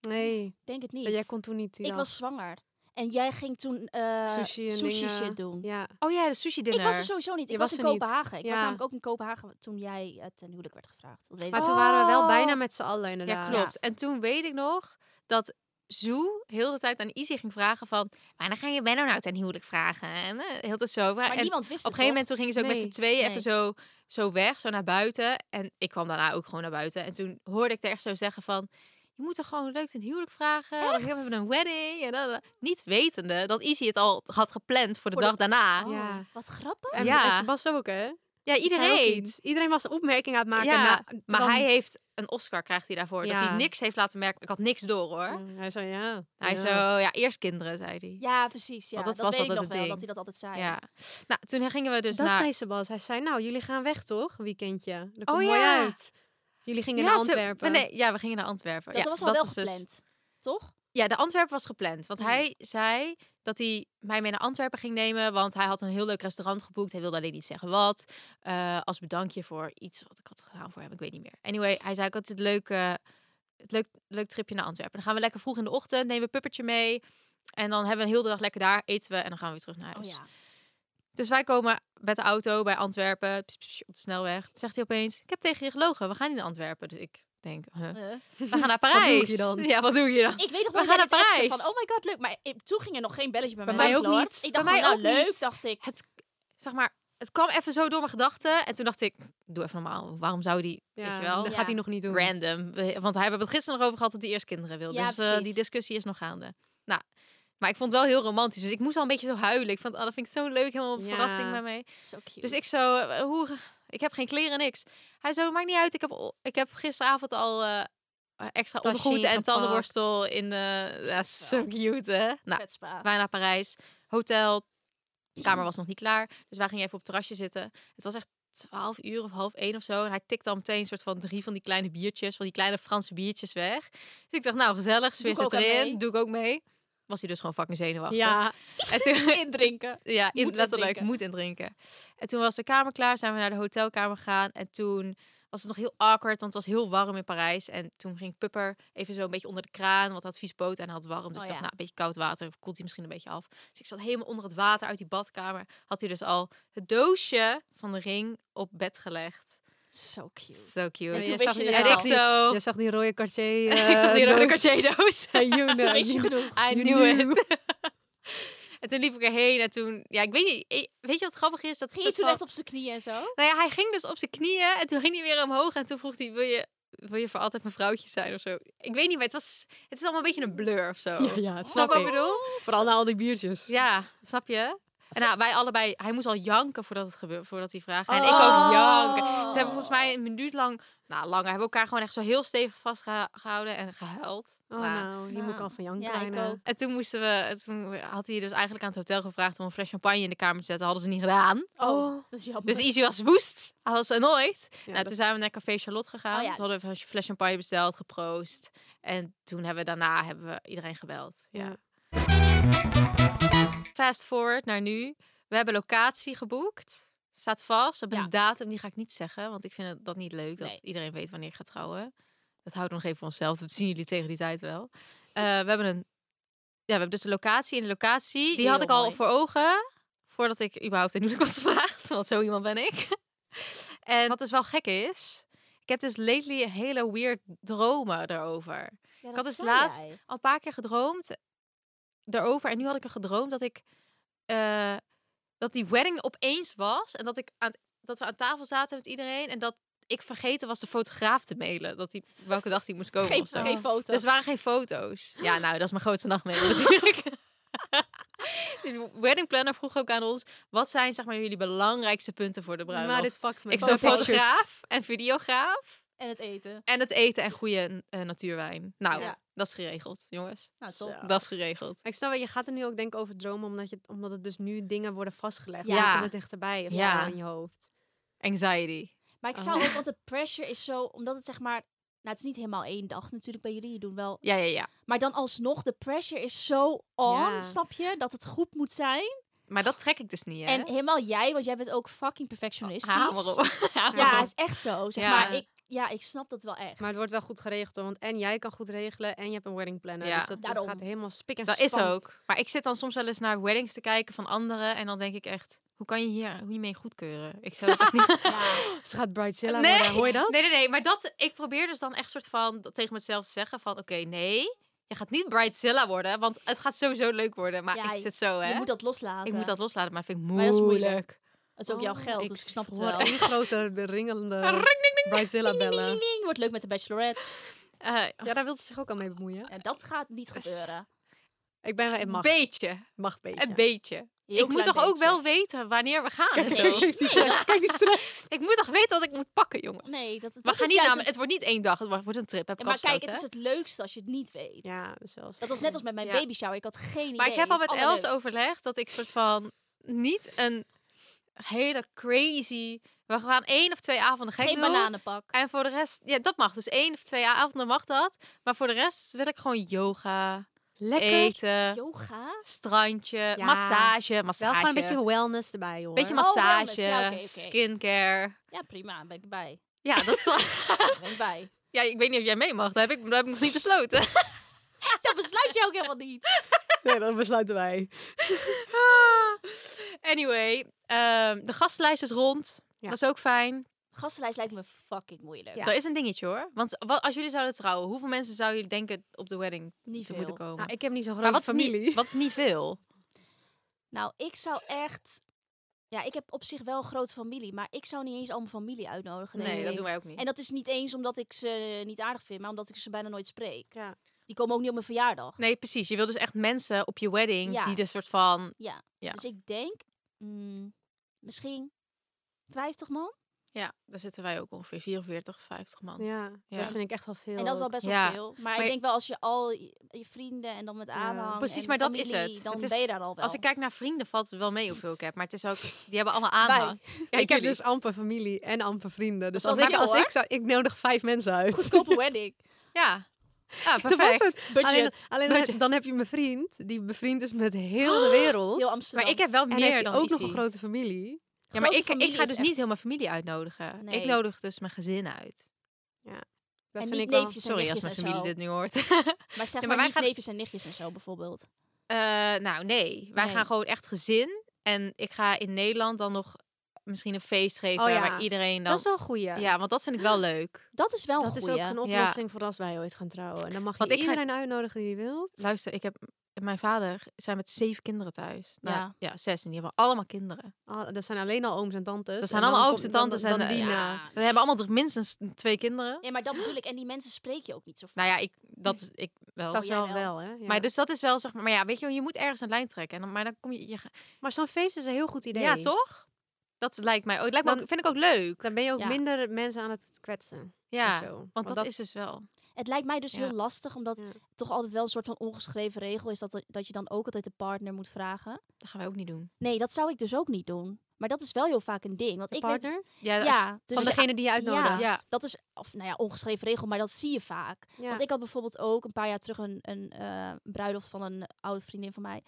[SPEAKER 3] Nee,
[SPEAKER 2] denk het niet.
[SPEAKER 3] jij kon toen niet die
[SPEAKER 2] ik
[SPEAKER 3] dag.
[SPEAKER 2] was zwanger. En jij ging toen eh,
[SPEAKER 3] Sushi en dingen.
[SPEAKER 2] shit doen.
[SPEAKER 3] Ja,
[SPEAKER 1] Oh ja, de sushi
[SPEAKER 2] Ik
[SPEAKER 1] dinner.
[SPEAKER 2] was er sowieso niet. Ik
[SPEAKER 3] Je
[SPEAKER 2] was,
[SPEAKER 3] was
[SPEAKER 2] in
[SPEAKER 3] er niet.
[SPEAKER 2] Kopenhagen. Ik
[SPEAKER 3] Ja.
[SPEAKER 2] was namelijk ook in Kopenhagen toen jij eh, ten huwelijk werd gevraagd. Dat weet ik
[SPEAKER 3] maar
[SPEAKER 2] nog.
[SPEAKER 3] toen waren we wel bijna
[SPEAKER 1] Oh.
[SPEAKER 3] met z'n allen
[SPEAKER 1] Ja,
[SPEAKER 3] inderdaad.
[SPEAKER 1] klopt. En toen weet ik nog dat Zoe heel de tijd aan Izzy ging vragen van... Maar dan ga je Benno nou ten huwelijk vragen. En eh, heel de tijd zo.
[SPEAKER 2] Maar
[SPEAKER 1] en op een
[SPEAKER 2] niemand wist
[SPEAKER 1] gegeven moment toen gingen ze ook met
[SPEAKER 3] Nee,
[SPEAKER 1] z'n tweeën
[SPEAKER 2] nee.
[SPEAKER 1] even zo, zo weg, zo naar buiten. En ik kwam daarna ook gewoon naar buiten. En toen hoorde ik er echt zo zeggen van... Je moet er gewoon leuk ten huwelijk vragen. Dan hebben we een wedding. En dan, niet wetende dat Izzy het al had gepland voor de
[SPEAKER 2] Voor de-
[SPEAKER 1] dag daarna.
[SPEAKER 2] Oh,
[SPEAKER 3] Ja.
[SPEAKER 2] Wat grappig.
[SPEAKER 3] En,
[SPEAKER 1] Ja.
[SPEAKER 3] en Sebas ook, hè?
[SPEAKER 1] Ja,
[SPEAKER 3] Die zei ook
[SPEAKER 1] eh, iedereen.
[SPEAKER 3] iets. Iedereen was een opmerking aan het maken.
[SPEAKER 1] Ja,
[SPEAKER 3] na-
[SPEAKER 1] Maar
[SPEAKER 3] terwijl-
[SPEAKER 1] hij heeft een Oscar, krijgt hij daarvoor. Dat
[SPEAKER 3] Ja.
[SPEAKER 1] hij niks heeft laten merken. Ik had niks door hoor.
[SPEAKER 3] Ja, Mm, hij zei ja.
[SPEAKER 1] Hij
[SPEAKER 3] ja.
[SPEAKER 1] zo, ja, eerst kinderen, zei hij.
[SPEAKER 2] Ja, precies. Ja.
[SPEAKER 1] Want dat
[SPEAKER 2] dat
[SPEAKER 1] was
[SPEAKER 2] weet
[SPEAKER 1] altijd
[SPEAKER 2] ik nog
[SPEAKER 1] het
[SPEAKER 2] wel,
[SPEAKER 1] ding.
[SPEAKER 2] dat hij dat altijd zei.
[SPEAKER 1] Ja. Nou, toen gingen we dus
[SPEAKER 3] dat
[SPEAKER 1] naar...
[SPEAKER 3] zei Sebas. Hij zei, nou, jullie gaan weg toch? Weekendje. Dat komt
[SPEAKER 1] Oh,
[SPEAKER 3] mooi
[SPEAKER 1] ja.
[SPEAKER 3] uit. Jullie gingen
[SPEAKER 1] Ja,
[SPEAKER 3] naar
[SPEAKER 1] ze-
[SPEAKER 3] Antwerpen.
[SPEAKER 1] we- nee, ja, we gingen naar Antwerpen.
[SPEAKER 2] Dat
[SPEAKER 1] ja,
[SPEAKER 2] was al wel
[SPEAKER 1] dus-
[SPEAKER 2] gepland. Toch?
[SPEAKER 1] ja, de Antwerpen was gepland. Want
[SPEAKER 2] Mm.
[SPEAKER 1] hij zei dat hij mij mee naar Antwerpen ging nemen. Want hij had een heel leuk restaurant geboekt. Hij wilde alleen niet zeggen wat. eh, als bedankje voor iets wat ik had gedaan voor hem. Ik weet niet meer. Anyway, hij zei ook altijd het leuke... Het leuk, leuk tripje naar Antwerpen. Dan gaan we lekker vroeg in de ochtend, nemen we puppertje mee. En dan hebben we een hele dag lekker daar, eten we en dan gaan we weer terug naar
[SPEAKER 2] Oh
[SPEAKER 1] huis.
[SPEAKER 2] ja.
[SPEAKER 1] Dus wij komen met de auto bij Antwerpen, pss, pss, op de snelweg. Zegt hij opeens, ik heb tegen je gelogen, we gaan niet naar Antwerpen. Dus ik denk, huh,
[SPEAKER 2] Eh.
[SPEAKER 1] we gaan naar
[SPEAKER 3] doe
[SPEAKER 1] Parijs.
[SPEAKER 3] ik hier dan?
[SPEAKER 1] Ja, wat doe ik hier dan?
[SPEAKER 2] Ik weet
[SPEAKER 1] We
[SPEAKER 2] nog wel
[SPEAKER 1] gaan
[SPEAKER 2] dat
[SPEAKER 1] naar
[SPEAKER 2] jij het appte
[SPEAKER 1] Parijs.
[SPEAKER 2] Van, oh my god, leuk. Maar eh, toen ging er nog geen belletje bij mij.
[SPEAKER 3] Bij mij
[SPEAKER 2] af,
[SPEAKER 3] ook
[SPEAKER 2] hoor.
[SPEAKER 3] niet.
[SPEAKER 2] Ik
[SPEAKER 1] Bij
[SPEAKER 2] dacht
[SPEAKER 1] mij
[SPEAKER 2] gewoon, nou,
[SPEAKER 1] ook
[SPEAKER 2] leuk,
[SPEAKER 1] niet.
[SPEAKER 2] dacht ik.
[SPEAKER 1] Het, zeg maar, het kwam even zo door mijn gedachten. En toen dacht ik, doe even normaal. Waarom zou die,
[SPEAKER 3] Ja,
[SPEAKER 1] weet je wel,
[SPEAKER 3] Dat
[SPEAKER 2] Ja.
[SPEAKER 3] gaat hij nog niet doen.
[SPEAKER 1] random. We- Want hij hebben het gisteren nog over gehad dat hij eerst kinderen wil.
[SPEAKER 2] Ja,
[SPEAKER 1] dus eh,
[SPEAKER 2] precies.
[SPEAKER 1] die discussie is nog gaande. Nou, maar ik vond het wel heel romantisch. Dus ik moest al een beetje zo huilen. Ik vond, oh, dat vind ik zo leuk, helemaal een
[SPEAKER 3] Ja.
[SPEAKER 1] verrassing bij mij.
[SPEAKER 2] Zo cute.
[SPEAKER 1] Dus ik zo, eh, hoe, ik heb geen kleren, niks. Hij zo, maakt niet uit. Ik heb, o- ik heb gisteravond al eh, extra
[SPEAKER 3] Tagine
[SPEAKER 1] ondergoed en
[SPEAKER 3] gepakt.
[SPEAKER 1] tandenborstel in de...
[SPEAKER 2] Zo
[SPEAKER 1] Ja,
[SPEAKER 2] vet
[SPEAKER 1] zo
[SPEAKER 2] wel.
[SPEAKER 1] cute, hè? Nou,
[SPEAKER 2] Vet spa.
[SPEAKER 1] wij naar Parijs, hotel. De
[SPEAKER 2] Mhm.
[SPEAKER 1] kamer was nog niet klaar. Dus wij gingen even op het terrasje zitten. Het was echt 12 uur of half één of zo. En hij tikte al meteen een soort van drie van die kleine biertjes, van die kleine Franse biertjes weg. Dus ik dacht, nou gezellig, sfeer
[SPEAKER 2] ik ook
[SPEAKER 1] zit
[SPEAKER 2] aan
[SPEAKER 1] erin.
[SPEAKER 2] mee.
[SPEAKER 1] Doe ik ook mee. Was hij dus gewoon fucking zenuwachtig.
[SPEAKER 3] Ja,
[SPEAKER 1] En toen,
[SPEAKER 2] Indrinken.
[SPEAKER 1] ja, in,
[SPEAKER 2] Moet
[SPEAKER 1] letterlijk,
[SPEAKER 2] indrinken.
[SPEAKER 1] moet indrinken. En toen was de kamer klaar, zijn we naar de hotelkamer gegaan. En toen was het nog heel awkward, want het was heel warm in Parijs. En toen ging Pupper even zo een beetje onder de kraan, want hij had vies poot en hij had warm. Dus
[SPEAKER 2] Oh
[SPEAKER 1] ik dacht,
[SPEAKER 2] ja.
[SPEAKER 1] nou, een beetje koud water, koelt hij misschien een beetje af. Dus ik zat helemaal onder het water uit die badkamer. Had hij dus al het doosje van de ring op bed gelegd.
[SPEAKER 2] Zo cute.
[SPEAKER 1] Zo cute.
[SPEAKER 2] En
[SPEAKER 3] Ja,
[SPEAKER 2] toen
[SPEAKER 3] je
[SPEAKER 2] wist
[SPEAKER 3] zag
[SPEAKER 2] je
[SPEAKER 3] die-
[SPEAKER 2] het
[SPEAKER 1] en
[SPEAKER 3] ja,
[SPEAKER 1] ik
[SPEAKER 2] al.
[SPEAKER 1] zo...
[SPEAKER 3] je zag die rode Cartier
[SPEAKER 1] ik zag die rode
[SPEAKER 3] doos.
[SPEAKER 1] Cartier-doos.
[SPEAKER 3] En you know,
[SPEAKER 2] Toen wist je
[SPEAKER 3] you-
[SPEAKER 2] genoeg.
[SPEAKER 1] I
[SPEAKER 3] you
[SPEAKER 1] knew it.
[SPEAKER 3] knew.
[SPEAKER 1] En toen liep ik erheen en toen... Ja, ik weet niet... ik- Weet je wat grappig is? Dat
[SPEAKER 2] Ging je
[SPEAKER 1] soort
[SPEAKER 2] toen
[SPEAKER 1] van-
[SPEAKER 2] echt op zijn knieën en zo?
[SPEAKER 1] Nou ja, hij ging dus op zijn knieën en toen ging hij weer omhoog en toen vroeg hij, wil je, wil je voor altijd mijn vrouwtje zijn of zo? Ik weet niet, maar het, was, het is allemaal een beetje een blur of zo.
[SPEAKER 3] Ja, ja, het
[SPEAKER 1] snap
[SPEAKER 3] snap
[SPEAKER 1] je wat ik
[SPEAKER 3] ik.
[SPEAKER 1] bedoel?
[SPEAKER 3] Vooral na al die biertjes.
[SPEAKER 1] Ja, snap je? En nou, wij allebei, hij moest al janken voordat het gebeurde, voordat die vraag. En
[SPEAKER 3] Oh.
[SPEAKER 1] ik ook janken. Ze hebben volgens mij een minuut lang, nou lang, hebben we elkaar gewoon echt zo heel stevig vastgehouden en gehuild.
[SPEAKER 3] Oh
[SPEAKER 1] Nou,
[SPEAKER 3] nou, hier moet ik
[SPEAKER 2] Nou,
[SPEAKER 3] al van janken
[SPEAKER 2] ja, ik
[SPEAKER 3] bijna.
[SPEAKER 2] ook.
[SPEAKER 1] En toen moesten we, toen had hij dus eigenlijk aan het hotel gevraagd om een fles champagne in de kamer te zetten. Hadden ze niet gedaan.
[SPEAKER 2] Oh, dat is jammer.
[SPEAKER 1] Dus Izzy was woest, als nooit.
[SPEAKER 3] Ja,
[SPEAKER 1] nou,
[SPEAKER 3] dat-
[SPEAKER 1] toen zijn we naar Café Charlotte gegaan.
[SPEAKER 2] Oh ja.
[SPEAKER 1] Toen hadden we een fles champagne besteld, geproost. En toen hebben we daarna hebben we iedereen gebeld. Ja.
[SPEAKER 3] ja.
[SPEAKER 1] Fast forward naar nu. We hebben locatie geboekt. Staat vast. We hebben
[SPEAKER 2] Ja.
[SPEAKER 1] een datum, die ga ik niet zeggen. Want ik vind het- dat niet leuk, dat
[SPEAKER 2] Nee.
[SPEAKER 1] iedereen weet wanneer ik ga trouwen. Dat houdt nog even voor onszelf. Dat zien jullie tegen die tijd wel. Eh, we hebben een... Ja, we hebben dus een locatie. En de locatie, die had
[SPEAKER 2] Heel
[SPEAKER 1] ik al
[SPEAKER 2] mooi.
[SPEAKER 1] voor ogen. Voordat ik überhaupt een huwelijk was gevraagd. Want zo iemand ben ik. En wat dus wel gek is. Ik heb dus lately hele weird dromen daarover.
[SPEAKER 2] Ja, dat
[SPEAKER 1] had dus
[SPEAKER 2] zei
[SPEAKER 1] laatst-
[SPEAKER 2] jij.
[SPEAKER 1] al een paar keer gedroomd daarover. En nu had ik er gedroomd dat ik eh, dat die wedding opeens was. En dat ik aan het- dat we aan tafel zaten met iedereen. En dat ik vergeten was de fotograaf te mailen. Dat die, welke dag die moest komen.
[SPEAKER 2] Geen,
[SPEAKER 1] of zo.
[SPEAKER 2] geen foto's.
[SPEAKER 1] Dus er waren geen foto's. Ja, nou, dat is mijn grootste nachtmerrie natuurlijk. Die wedding planner vroeg ook aan ons: wat zijn zeg maar jullie belangrijkste punten voor de bruiloft?
[SPEAKER 3] Maar dit pakt me.
[SPEAKER 1] ik zou
[SPEAKER 3] Gewoon pictures.
[SPEAKER 1] fotograaf en videograaf
[SPEAKER 2] En het eten.
[SPEAKER 1] en het eten en goede eh, natuurwijn. Nou,
[SPEAKER 2] Ja.
[SPEAKER 1] dat is geregeld, jongens.
[SPEAKER 2] Nou, top.
[SPEAKER 3] Zo.
[SPEAKER 1] Dat is geregeld.
[SPEAKER 3] Ik snap, wel, je gaat er nu ook denken over dromen, omdat, je, omdat het dus nu dingen worden vastgelegd.
[SPEAKER 1] Ja.
[SPEAKER 3] Ja. Dan komt het dichterbij of
[SPEAKER 1] Ja.
[SPEAKER 3] zo in je hoofd.
[SPEAKER 1] Anxiety.
[SPEAKER 2] Maar ik
[SPEAKER 3] Oh.
[SPEAKER 2] zou ook, want de pressure is zo, omdat het zeg maar, nou het is niet helemaal één dag natuurlijk bij jullie, je doen wel.
[SPEAKER 1] Ja, ja, ja.
[SPEAKER 2] Maar dan alsnog, de pressure is zo on,
[SPEAKER 3] Ja.
[SPEAKER 2] snap je? Dat het goed moet zijn.
[SPEAKER 1] Maar dat trek ik dus niet, hè?
[SPEAKER 2] En helemaal jij, want jij bent ook fucking perfectionistisch.
[SPEAKER 1] Hamer op.
[SPEAKER 2] Ja, is echt zo, zeg
[SPEAKER 1] Ja.
[SPEAKER 2] maar. Ik, ja, ik snap dat wel echt.
[SPEAKER 3] Maar het wordt wel goed geregeld hoor, want en jij kan goed regelen en je hebt een wedding planner.
[SPEAKER 1] Ja.
[SPEAKER 3] Dus dat, dat
[SPEAKER 2] Daarom.
[SPEAKER 3] gaat helemaal spik en
[SPEAKER 1] Dat is
[SPEAKER 3] span.
[SPEAKER 1] ook. Maar ik zit dan soms wel eens naar weddings te kijken van anderen. En dan denk ik echt, hoe kan je hier hoe je mee goedkeuren? Ik zou dat echt niet...
[SPEAKER 2] Ja.
[SPEAKER 3] Ze gaat Bridezilla
[SPEAKER 1] Nee.
[SPEAKER 3] worden, hoor je dat?
[SPEAKER 1] Nee, nee, nee. Maar dat, ik probeer dus dan echt soort van dat tegen mezelf te zeggen van... Oké, nee, je gaat niet Bridezilla worden. Want het gaat sowieso leuk worden. Maar
[SPEAKER 2] Ja,
[SPEAKER 1] ik zit zo, hè.
[SPEAKER 2] Je moet dat loslaten.
[SPEAKER 1] ik moet dat loslaten, maar dat vind ik
[SPEAKER 2] Maar dat
[SPEAKER 1] moeilijk.
[SPEAKER 2] is moeilijk. Het is ook jouw
[SPEAKER 3] Oh,
[SPEAKER 2] geld, dus ik snap het
[SPEAKER 3] hoor
[SPEAKER 2] wel.
[SPEAKER 3] al die grote ringelende Bridezilla bellen.
[SPEAKER 2] Ding, Wordt leuk met de bachelorette.
[SPEAKER 1] Eh,
[SPEAKER 3] Ja, daar wil ze zich ook al mee bemoeien.
[SPEAKER 2] Ja, dat gaat niet gebeuren.
[SPEAKER 3] Ik ben wel, het
[SPEAKER 1] een
[SPEAKER 3] mag,
[SPEAKER 1] beetje.
[SPEAKER 3] mag beetje.
[SPEAKER 1] Een beetje.
[SPEAKER 2] Heel
[SPEAKER 1] ik moet
[SPEAKER 2] klein
[SPEAKER 1] toch ook
[SPEAKER 2] beetje.
[SPEAKER 1] wel weten wanneer we gaan en
[SPEAKER 3] Kijk,
[SPEAKER 1] zo.
[SPEAKER 3] kijk die stress, kijk die stress.
[SPEAKER 1] Ik moet toch weten wat ik moet pakken, jongen.
[SPEAKER 2] Nee, dat, dat
[SPEAKER 1] We gaan
[SPEAKER 2] is
[SPEAKER 1] niet
[SPEAKER 2] juist
[SPEAKER 1] namelijk, het wordt niet één dag, het wordt wordt een trip. Heb
[SPEAKER 2] Ja,
[SPEAKER 1] ik
[SPEAKER 2] maar kijk,
[SPEAKER 1] afgesloten,
[SPEAKER 2] het
[SPEAKER 1] hè?
[SPEAKER 2] is het leukste als je het niet weet.
[SPEAKER 3] Ja, dat is wel zo.
[SPEAKER 2] Dat was net als met mijn
[SPEAKER 1] Ja.
[SPEAKER 2] babyshower. baby shower. Ik had geen idee.
[SPEAKER 1] Maar ik heb al
[SPEAKER 2] Het
[SPEAKER 1] met
[SPEAKER 2] is
[SPEAKER 1] Els
[SPEAKER 2] allerleukst.
[SPEAKER 1] overlegd dat ik soort van niet een hele crazy. We gaan één of twee avonden gek
[SPEAKER 2] Geen
[SPEAKER 1] doen.
[SPEAKER 2] bananenpak.
[SPEAKER 1] En voor de rest, ja, dat mag. Dus één of twee avonden mag dat. Maar voor de rest wil ik gewoon yoga,
[SPEAKER 3] Lekker.
[SPEAKER 1] eten,
[SPEAKER 2] Yoga?
[SPEAKER 1] strandje,
[SPEAKER 3] Ja.
[SPEAKER 1] massage, massage.
[SPEAKER 3] Wel gewoon een beetje wellness erbij, hoor.
[SPEAKER 1] Beetje
[SPEAKER 2] Oh, wellness.
[SPEAKER 1] massage,
[SPEAKER 2] Ja, oké, oké.
[SPEAKER 1] skincare.
[SPEAKER 2] Ja, prima. Ben ik bij.
[SPEAKER 1] Ja, dat is
[SPEAKER 2] Ben ik bij.
[SPEAKER 1] Ja, ik weet niet of jij mee mag. Dat heb ik, dat heb ik nog niet besloten.
[SPEAKER 2] Dat besluit jij ook helemaal niet.
[SPEAKER 3] Nee, dat besluiten wij.
[SPEAKER 1] anyway, ehm, de gastenlijst is rond.
[SPEAKER 3] Ja.
[SPEAKER 1] Dat is ook fijn.
[SPEAKER 2] Gastenlijst lijkt me fucking moeilijk.
[SPEAKER 3] Ja.
[SPEAKER 1] Dat is een dingetje hoor. Want wa- als jullie zouden trouwen, hoeveel mensen zouden jullie denken op de wedding
[SPEAKER 2] Niet
[SPEAKER 1] te
[SPEAKER 2] veel.
[SPEAKER 1] moeten komen?
[SPEAKER 3] Nou, ik heb niet zo'n
[SPEAKER 1] maar
[SPEAKER 3] grote
[SPEAKER 1] wat is,
[SPEAKER 3] familie.
[SPEAKER 1] niet, wat is niet veel?
[SPEAKER 2] Nou, ik zou echt... Ja, ik heb op zich wel een grote familie. Maar ik zou niet eens al mijn familie uitnodigen.
[SPEAKER 1] Nee,
[SPEAKER 2] denk
[SPEAKER 1] dat
[SPEAKER 2] ik.
[SPEAKER 1] doen wij ook niet.
[SPEAKER 2] En dat is niet eens omdat ik ze niet aardig vind, maar omdat ik ze bijna nooit spreek.
[SPEAKER 3] Ja.
[SPEAKER 2] Die komen ook niet op mijn verjaardag.
[SPEAKER 1] Nee, precies. Je wil dus echt mensen op je wedding
[SPEAKER 2] Ja.
[SPEAKER 1] die de soort van.
[SPEAKER 2] Ja.
[SPEAKER 1] Ja.
[SPEAKER 2] Dus ik denk mm, misschien 50 man.
[SPEAKER 1] Ja, daar zitten wij ook ongeveer 44, 50 man.
[SPEAKER 3] Ja,
[SPEAKER 1] Ja.
[SPEAKER 3] dat vind ik echt wel veel.
[SPEAKER 2] en dat is al
[SPEAKER 3] ook.
[SPEAKER 2] best wel
[SPEAKER 1] Ja.
[SPEAKER 2] veel. Maar,
[SPEAKER 1] je-
[SPEAKER 2] ik denk wel als je al je je vrienden en dan met aanhang
[SPEAKER 1] Precies,
[SPEAKER 2] en
[SPEAKER 1] maar dat is
[SPEAKER 2] familie,
[SPEAKER 1] het.
[SPEAKER 2] Dan
[SPEAKER 1] Het is-
[SPEAKER 2] ben je daar al wel.
[SPEAKER 1] Als ik kijk naar vrienden, valt het wel mee hoeveel ik heb. Maar het is ook. Die hebben allemaal aanhang. Ja,
[SPEAKER 3] ik heb
[SPEAKER 1] jullie.
[SPEAKER 3] dus amper familie en amper vrienden. Dus
[SPEAKER 2] Dat
[SPEAKER 3] als
[SPEAKER 2] was
[SPEAKER 3] ik,
[SPEAKER 2] jou,
[SPEAKER 3] als ik zou... Ik nodig vijf mensen uit.
[SPEAKER 2] Goedkope wedding.
[SPEAKER 1] Ja. Ja,
[SPEAKER 3] Dat was
[SPEAKER 1] perfect.
[SPEAKER 3] het.
[SPEAKER 2] Budget.
[SPEAKER 3] Alleen, alleen dan-
[SPEAKER 1] Budget.
[SPEAKER 3] dan heb je mijn vriend, die bevriend is met heel de wereld.
[SPEAKER 2] Heel Amsterdam.
[SPEAKER 1] Maar ik heb wel
[SPEAKER 3] en
[SPEAKER 1] meer
[SPEAKER 3] heeft
[SPEAKER 1] dan
[SPEAKER 3] ook
[SPEAKER 1] Izzy.
[SPEAKER 3] nog een grote familie.
[SPEAKER 1] Ja, maar
[SPEAKER 2] Grote
[SPEAKER 1] ik, ik
[SPEAKER 2] familie
[SPEAKER 1] ga
[SPEAKER 2] is
[SPEAKER 1] dus
[SPEAKER 2] echt-
[SPEAKER 1] niet heel mijn familie uitnodigen.
[SPEAKER 2] Nee.
[SPEAKER 1] Ik nodig dus mijn gezin uit.
[SPEAKER 3] Dat
[SPEAKER 2] En
[SPEAKER 3] vind
[SPEAKER 2] niet
[SPEAKER 3] ik wel-
[SPEAKER 2] neefjes en
[SPEAKER 1] Sorry als
[SPEAKER 2] nichtjes
[SPEAKER 1] mijn familie
[SPEAKER 2] en zo.
[SPEAKER 1] dit nu hoort.
[SPEAKER 2] Maar zeg
[SPEAKER 1] Ja, maar
[SPEAKER 2] maar,
[SPEAKER 1] wij
[SPEAKER 2] niet
[SPEAKER 1] gaan-
[SPEAKER 2] neefjes en nichtjes en zo bijvoorbeeld.
[SPEAKER 1] Eh, nou, nee. Wij
[SPEAKER 2] Nee.
[SPEAKER 1] gaan gewoon echt gezin. En ik ga in Nederland dan nog misschien een feest geven
[SPEAKER 3] Oh, ja.
[SPEAKER 1] waar iedereen dan...
[SPEAKER 3] Dat is wel een goeie.
[SPEAKER 1] Ja, want dat vind ik wel leuk.
[SPEAKER 2] Dat is wel
[SPEAKER 3] dat
[SPEAKER 2] een
[SPEAKER 3] is ook
[SPEAKER 2] goeie.
[SPEAKER 3] een oplossing voor als wij ooit gaan trouwen. En dan mag je
[SPEAKER 1] Want ik ga-
[SPEAKER 3] iedereen uitnodigen die je wilt.
[SPEAKER 1] Luister, ik heb... Mijn vader zijn met zeven kinderen thuis. Nou,
[SPEAKER 2] Ja.
[SPEAKER 1] ja. zes. En die hebben allemaal kinderen.
[SPEAKER 3] Al- Ah, dat zijn alleen al ooms en tantes.
[SPEAKER 1] Dat zijn
[SPEAKER 3] Dus En dan
[SPEAKER 1] allemaal
[SPEAKER 3] komt-
[SPEAKER 1] ooms en
[SPEAKER 3] dan-
[SPEAKER 1] tantes.
[SPEAKER 3] Dan,
[SPEAKER 1] En
[SPEAKER 3] dan
[SPEAKER 1] eh,
[SPEAKER 3] die
[SPEAKER 1] ja,
[SPEAKER 3] na.
[SPEAKER 1] We hebben allemaal toch minstens twee kinderen.
[SPEAKER 2] Ja, maar dat bedoel ik. En die mensen spreek je ook niet zo vaak.
[SPEAKER 1] Nou ja, ik, dat is, ik wel.
[SPEAKER 3] Dat is
[SPEAKER 2] jij
[SPEAKER 3] wel
[SPEAKER 2] wel.
[SPEAKER 3] wel, hè? Ja.
[SPEAKER 1] oh, Maar dus dat is wel zeg maar... Maar ja, weet je, wel, je moet ergens een lijn trekken. En dan, maar dan kom je... je ga-
[SPEAKER 3] Maar zo'n feest is een heel goed idee.
[SPEAKER 1] Ja, toch? Dat lijkt mij ook. Lijkt me
[SPEAKER 3] Dan-
[SPEAKER 1] ook vind ik ook leuk.
[SPEAKER 3] Dan ben je ook
[SPEAKER 2] Ja.
[SPEAKER 3] minder mensen aan het kwetsen.
[SPEAKER 1] ja.
[SPEAKER 3] en zo.
[SPEAKER 1] Want dat, is dus wel.
[SPEAKER 2] Het lijkt mij dus
[SPEAKER 1] Ja.
[SPEAKER 2] heel lastig, omdat
[SPEAKER 3] Ja.
[SPEAKER 2] toch altijd wel een soort van ongeschreven regel is dat, dat je dan ook altijd de partner moet vragen.
[SPEAKER 1] Dat gaan wij ook niet doen.
[SPEAKER 2] Nee, dat zou ik dus ook niet doen. Maar dat is wel heel vaak een ding. Want
[SPEAKER 3] De
[SPEAKER 2] ik weet-
[SPEAKER 3] partner
[SPEAKER 1] Ja, als-
[SPEAKER 2] ja, dus
[SPEAKER 3] van degene die je
[SPEAKER 2] ja,
[SPEAKER 3] uitnodigt.
[SPEAKER 1] Ja.
[SPEAKER 2] dat is, of nou ja, ongeschreven regel, maar dat zie je vaak.
[SPEAKER 3] Ja.
[SPEAKER 2] Want ik had bijvoorbeeld ook een paar jaar terug een, een eh, bruiloft van een oude vriendin van mij.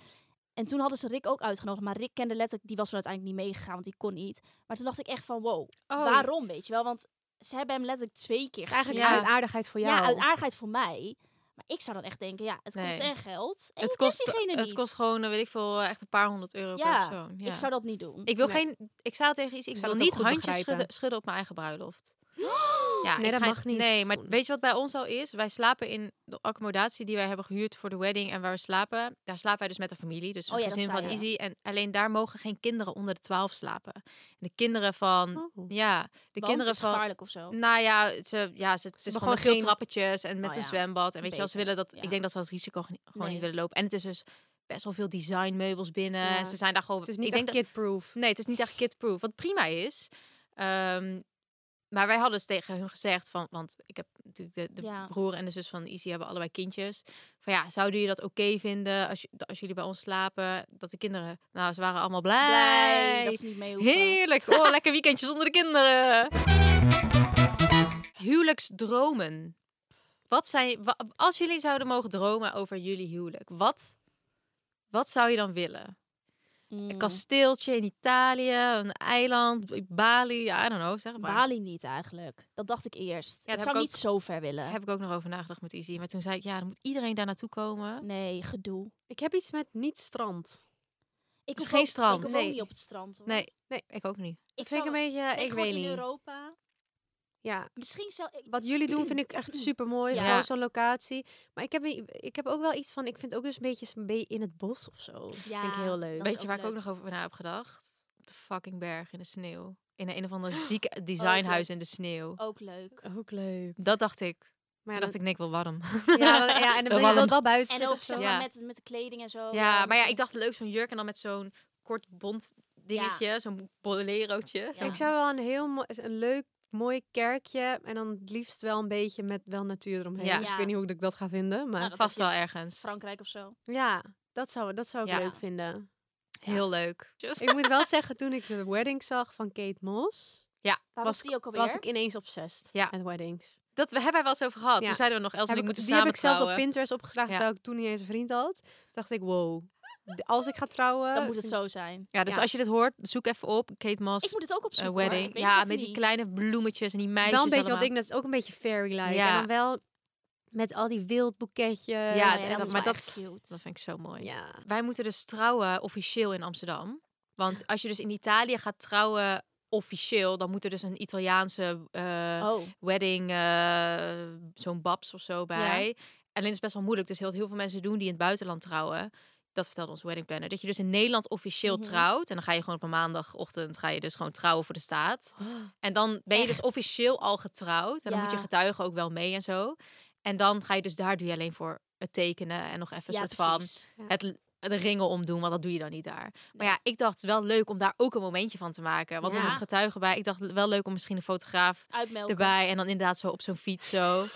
[SPEAKER 2] En toen hadden ze Rick ook uitgenodigd. Maar Rick kende letterlijk, die was er uiteindelijk niet meegegaan, want die kon niet. Maar toen dacht ik echt van, wow,
[SPEAKER 1] Oh,
[SPEAKER 2] waarom, weet je wel? Want ze hebben hem letterlijk twee keer
[SPEAKER 3] is eigenlijk
[SPEAKER 2] gezien.
[SPEAKER 1] Ja.
[SPEAKER 3] uit aardigheid voor jou.
[SPEAKER 2] Ja, uit aardigheid voor mij. Maar Maar ik zou dan echt denken, ja, het kost
[SPEAKER 1] Nee.
[SPEAKER 2] en geld. En
[SPEAKER 1] het
[SPEAKER 2] je
[SPEAKER 1] kost,
[SPEAKER 2] kent diegene
[SPEAKER 1] het
[SPEAKER 2] niet.
[SPEAKER 1] kost gewoon, eh, weet ik veel, eh, echt een paar honderd euro per
[SPEAKER 2] Ja,
[SPEAKER 1] persoon. Ja.
[SPEAKER 2] Ik zou dat niet doen.
[SPEAKER 1] Ik wil
[SPEAKER 3] Nee.
[SPEAKER 1] geen. Ik zou tegen iets. Ik,
[SPEAKER 3] zou
[SPEAKER 1] wil
[SPEAKER 3] dat ook
[SPEAKER 1] niet
[SPEAKER 3] goed
[SPEAKER 1] handjes
[SPEAKER 3] begrijpen.
[SPEAKER 1] schudden, schudden op mijn eigen bruiloft. Ja,
[SPEAKER 3] Nee,
[SPEAKER 1] ik
[SPEAKER 3] dat
[SPEAKER 1] ga-
[SPEAKER 3] mag niet.
[SPEAKER 1] Nee, maar weet je wat bij ons al is? Wij slapen in de accommodatie die wij hebben gehuurd voor de wedding en waar we slapen. Daar slapen wij dus met de familie, dus
[SPEAKER 2] Oh
[SPEAKER 1] het
[SPEAKER 2] ja, dat
[SPEAKER 1] gezin
[SPEAKER 2] zei
[SPEAKER 1] van
[SPEAKER 2] je.
[SPEAKER 1] Izzy. En alleen daar mogen geen kinderen onder de 12 slapen. En de kinderen van,
[SPEAKER 3] Oh.
[SPEAKER 1] ja, de
[SPEAKER 2] Want
[SPEAKER 1] kinderen
[SPEAKER 2] het is
[SPEAKER 1] van,
[SPEAKER 2] gevaarlijk of zo.
[SPEAKER 1] nou ja, ze, ja, ze, het is gewoon
[SPEAKER 3] hebben gewoon
[SPEAKER 1] veel
[SPEAKER 3] geen-
[SPEAKER 1] trappetjes en met
[SPEAKER 2] Oh
[SPEAKER 1] een
[SPEAKER 2] ja,
[SPEAKER 1] zwembad. En weet je wel, ze
[SPEAKER 2] beter,
[SPEAKER 1] willen dat.
[SPEAKER 2] ja.
[SPEAKER 1] Ik denk dat ze dat risico gewoon gewoon
[SPEAKER 2] Nee.
[SPEAKER 1] niet willen lopen. En het is dus best wel veel designmeubels binnen.
[SPEAKER 3] Ja.
[SPEAKER 1] En ze zijn daar gewoon.
[SPEAKER 3] Het is niet
[SPEAKER 1] ik
[SPEAKER 3] echt
[SPEAKER 1] denk dat-
[SPEAKER 3] kidproof.
[SPEAKER 1] Nee, het is niet echt kidproof. Wat prima is. Ehm, maar wij hadden dus tegen hun gezegd van, want ik heb natuurlijk de, de
[SPEAKER 2] Ja.
[SPEAKER 1] broer en de zus van Izzy hebben allebei kindjes. Van ja, zouden jullie dat oké vinden als, je- als jullie bij ons slapen? Dat de kinderen, nou, ze waren allemaal blij.
[SPEAKER 2] Blij dat ze niet mee hoeven.
[SPEAKER 1] Heerlijk. Oh, lekker weekendje zonder de kinderen. Huwelijksdromen. Wat zijn, wa- als jullie zouden mogen dromen over jullie huwelijk, wat, wat zou je dan willen? Een
[SPEAKER 2] Mm.
[SPEAKER 1] kasteeltje in Italië, een eiland, Bali, ja, I don't know, zeg het maar.
[SPEAKER 2] Bali niet eigenlijk. Dat dacht ik eerst.
[SPEAKER 1] dat
[SPEAKER 2] ik
[SPEAKER 1] heb
[SPEAKER 2] zou
[SPEAKER 1] ik
[SPEAKER 2] niet zo ver willen.
[SPEAKER 1] Daar heb ik ook nog over nagedacht met Izzy. Maar toen zei ik, ja, dan moet iedereen daar naartoe komen.
[SPEAKER 2] Nee, gedoe.
[SPEAKER 3] Ik heb iets met niet strand.
[SPEAKER 2] Ik
[SPEAKER 1] Dus
[SPEAKER 2] hoef
[SPEAKER 1] geen
[SPEAKER 2] ook-
[SPEAKER 1] strand.
[SPEAKER 2] Ik woon
[SPEAKER 3] Nee.
[SPEAKER 2] niet op het strand. Hoor.
[SPEAKER 1] Nee,
[SPEAKER 3] Nee.
[SPEAKER 1] ik ook niet.
[SPEAKER 3] Ik
[SPEAKER 2] ik
[SPEAKER 3] vind
[SPEAKER 2] zou,
[SPEAKER 3] ik een beetje,
[SPEAKER 2] nee,
[SPEAKER 3] ik
[SPEAKER 2] gewoon
[SPEAKER 3] weet
[SPEAKER 2] in
[SPEAKER 3] niet.
[SPEAKER 2] Europa.
[SPEAKER 3] Ja,
[SPEAKER 2] Misschien zou ik.
[SPEAKER 3] wat jullie doen vind ik echt super mooi.
[SPEAKER 1] Ja.
[SPEAKER 3] Gewoon zo'n locatie. Maar ik heb, ik heb ook wel iets van, ik vind ook dus een beetje een beetje in het bos of zo. Dat
[SPEAKER 2] Ja,
[SPEAKER 3] vind ik heel leuk.
[SPEAKER 2] dat is
[SPEAKER 1] Weet je waar ik ook
[SPEAKER 2] leuk.
[SPEAKER 1] nog over na heb gedacht? Op de fucking berg in de sneeuw. In een, een of ander
[SPEAKER 2] Oh,
[SPEAKER 1] zieke designhuis in de sneeuw.
[SPEAKER 2] Ook leuk.
[SPEAKER 3] Ook leuk.
[SPEAKER 1] Dat dacht ik.
[SPEAKER 3] Maar
[SPEAKER 1] Toen
[SPEAKER 3] ja,
[SPEAKER 1] dacht ik, nee, ik wil warm.
[SPEAKER 3] dat- ja, wel- ja, en dan wil je wel,
[SPEAKER 1] warm.
[SPEAKER 3] wel buiten
[SPEAKER 2] En
[SPEAKER 3] zitten
[SPEAKER 2] ook
[SPEAKER 3] of zo.
[SPEAKER 2] zeg maar,
[SPEAKER 1] Ja.
[SPEAKER 2] met, met de kleding en zo.
[SPEAKER 1] ja, maar ja,
[SPEAKER 2] Oh, misschien-
[SPEAKER 1] ik dacht leuk zo'n jurk en dan met zo'n kort bont dingetje, zo'n bolerootje.
[SPEAKER 2] Ja.
[SPEAKER 3] Ik zou wel een heel mooi, een leuk, mooi kerkje. En dan het liefst wel een beetje met wel natuur eromheen.
[SPEAKER 1] Ja.
[SPEAKER 3] Dus ik
[SPEAKER 2] Ja.
[SPEAKER 3] weet niet hoe ik dat ga vinden. Maar
[SPEAKER 2] Nou, dat
[SPEAKER 1] Vast
[SPEAKER 2] heb
[SPEAKER 1] wel
[SPEAKER 2] je in
[SPEAKER 1] ergens.
[SPEAKER 2] Frankrijk of zo.
[SPEAKER 3] ja, dat zou, dat zou ik
[SPEAKER 1] Ja.
[SPEAKER 3] leuk vinden.
[SPEAKER 1] Heel leuk.
[SPEAKER 3] Ik moet wel zeggen, toen ik de wedding zag van Kate Moss,
[SPEAKER 2] Waar
[SPEAKER 3] Was
[SPEAKER 2] was, die ook alweer?
[SPEAKER 3] was ik ineens obsessed
[SPEAKER 1] Ja.
[SPEAKER 3] met weddings.
[SPEAKER 1] Dat we hebben wij wel eens over gehad.
[SPEAKER 3] Ja.
[SPEAKER 1] Toen zeiden we nog, Els en
[SPEAKER 3] Heb
[SPEAKER 1] ik
[SPEAKER 3] ik-
[SPEAKER 1] moeten
[SPEAKER 3] die
[SPEAKER 1] samen
[SPEAKER 3] heb ik zelfs op
[SPEAKER 1] trouwen.
[SPEAKER 3] Pinterest opgevraagd,
[SPEAKER 1] Ja.
[SPEAKER 3] terwijl ik toen niet eens een vriend had. Toen dacht ik, wow, de- als ik ga trouwen...
[SPEAKER 2] Dan moet het
[SPEAKER 3] vind-
[SPEAKER 2] zo zijn.
[SPEAKER 1] Ja, dus
[SPEAKER 3] Ja.
[SPEAKER 1] als je dit hoort, zoek even op. Kate
[SPEAKER 2] Eh, Ik
[SPEAKER 1] Moss,
[SPEAKER 2] moet het ook
[SPEAKER 1] eh,
[SPEAKER 2] opzoeken. hoor.
[SPEAKER 1] wedding.
[SPEAKER 2] Ik weet
[SPEAKER 1] Ja,
[SPEAKER 2] het
[SPEAKER 1] met
[SPEAKER 2] ook
[SPEAKER 1] die
[SPEAKER 2] niet.
[SPEAKER 1] kleine bloemetjes en die meisjes
[SPEAKER 3] Wel een beetje wat
[SPEAKER 1] allemaal.
[SPEAKER 3] ik net, ook een beetje fairy-like.
[SPEAKER 1] Ja.
[SPEAKER 3] En dan wel met al die wildboeketjes.
[SPEAKER 1] Ja,
[SPEAKER 2] Oh
[SPEAKER 1] dat-
[SPEAKER 2] dat
[SPEAKER 1] dat-
[SPEAKER 2] is
[SPEAKER 1] maar
[SPEAKER 2] wel
[SPEAKER 1] dat-
[SPEAKER 2] echt cute.
[SPEAKER 1] Dat vind ik zo mooi.
[SPEAKER 3] Ja.
[SPEAKER 1] Wij moeten dus trouwen officieel in Amsterdam. Want als je dus in Italië gaat trouwen officieel, dan moet er dus een Italiaanse eh,
[SPEAKER 2] Oh,
[SPEAKER 1] wedding, eh, zo'n babs of zo bij. Alleen is het best wel moeilijk. Dus heel, heel veel mensen doen die in het buitenland trouwen. Dat vertelde onze wedding planner. Dat je dus in Nederland officieel
[SPEAKER 2] Mhm.
[SPEAKER 1] trouwt. En dan ga je gewoon op een maandagochtend ga je dus gewoon trouwen voor de staat. En dan ben je dus
[SPEAKER 2] Echt?
[SPEAKER 1] officieel al getrouwd. En dan moet je
[SPEAKER 2] Ja.
[SPEAKER 1] getuigen ook wel mee en zo. En dan ga je dus daar doe je alleen voor het tekenen en nog even een
[SPEAKER 2] ja,
[SPEAKER 1] soort van
[SPEAKER 2] precies.
[SPEAKER 1] het, de ringen omdoen, want dat doe je dan niet daar. Maar ja, ik dacht wel leuk om daar ook een momentje van te maken. Want er
[SPEAKER 3] Ja.
[SPEAKER 1] moet getuigen bij. Ik dacht wel leuk om misschien een fotograaf
[SPEAKER 2] Uitmelken.
[SPEAKER 1] erbij en dan inderdaad zo op zo'n fiets zo.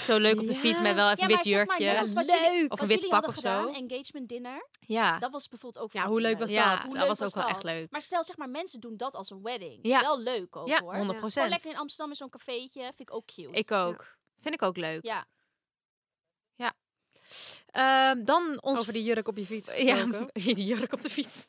[SPEAKER 1] Zo leuk op de fiets met wel even
[SPEAKER 2] ja,
[SPEAKER 1] wit
[SPEAKER 2] maar zeg maar,
[SPEAKER 1] jurkje.
[SPEAKER 2] net als wat
[SPEAKER 1] Of
[SPEAKER 2] Jullie,
[SPEAKER 1] een
[SPEAKER 2] wat
[SPEAKER 1] wit
[SPEAKER 2] jullie
[SPEAKER 1] pak
[SPEAKER 2] hadden
[SPEAKER 1] of zo.
[SPEAKER 2] gedaan, engagement dinner.
[SPEAKER 1] Ja.
[SPEAKER 2] Dat was bijvoorbeeld ook
[SPEAKER 3] Ja,
[SPEAKER 2] fucking
[SPEAKER 3] hoe leuk was
[SPEAKER 1] ja,
[SPEAKER 3] dat?
[SPEAKER 2] Hoe
[SPEAKER 1] dat
[SPEAKER 2] leuk
[SPEAKER 1] was ook wel
[SPEAKER 2] dat?
[SPEAKER 1] echt leuk.
[SPEAKER 2] Maar stel, zeg maar, mensen doen dat als een wedding.
[SPEAKER 1] Ja.
[SPEAKER 2] Wel leuk ook,
[SPEAKER 1] Ja,
[SPEAKER 2] hoor.
[SPEAKER 1] 100
[SPEAKER 2] Gewoon
[SPEAKER 1] procent.
[SPEAKER 2] lekker in Amsterdam in zo'n cafeetje. Vind ik ook cute.
[SPEAKER 1] Ik ook. Vind ik ook leuk.
[SPEAKER 2] Ja.
[SPEAKER 1] Ehm, dan ons...
[SPEAKER 3] Over die jurk op je fiets
[SPEAKER 1] ja,
[SPEAKER 3] gesproken.
[SPEAKER 1] die jurk op de fiets.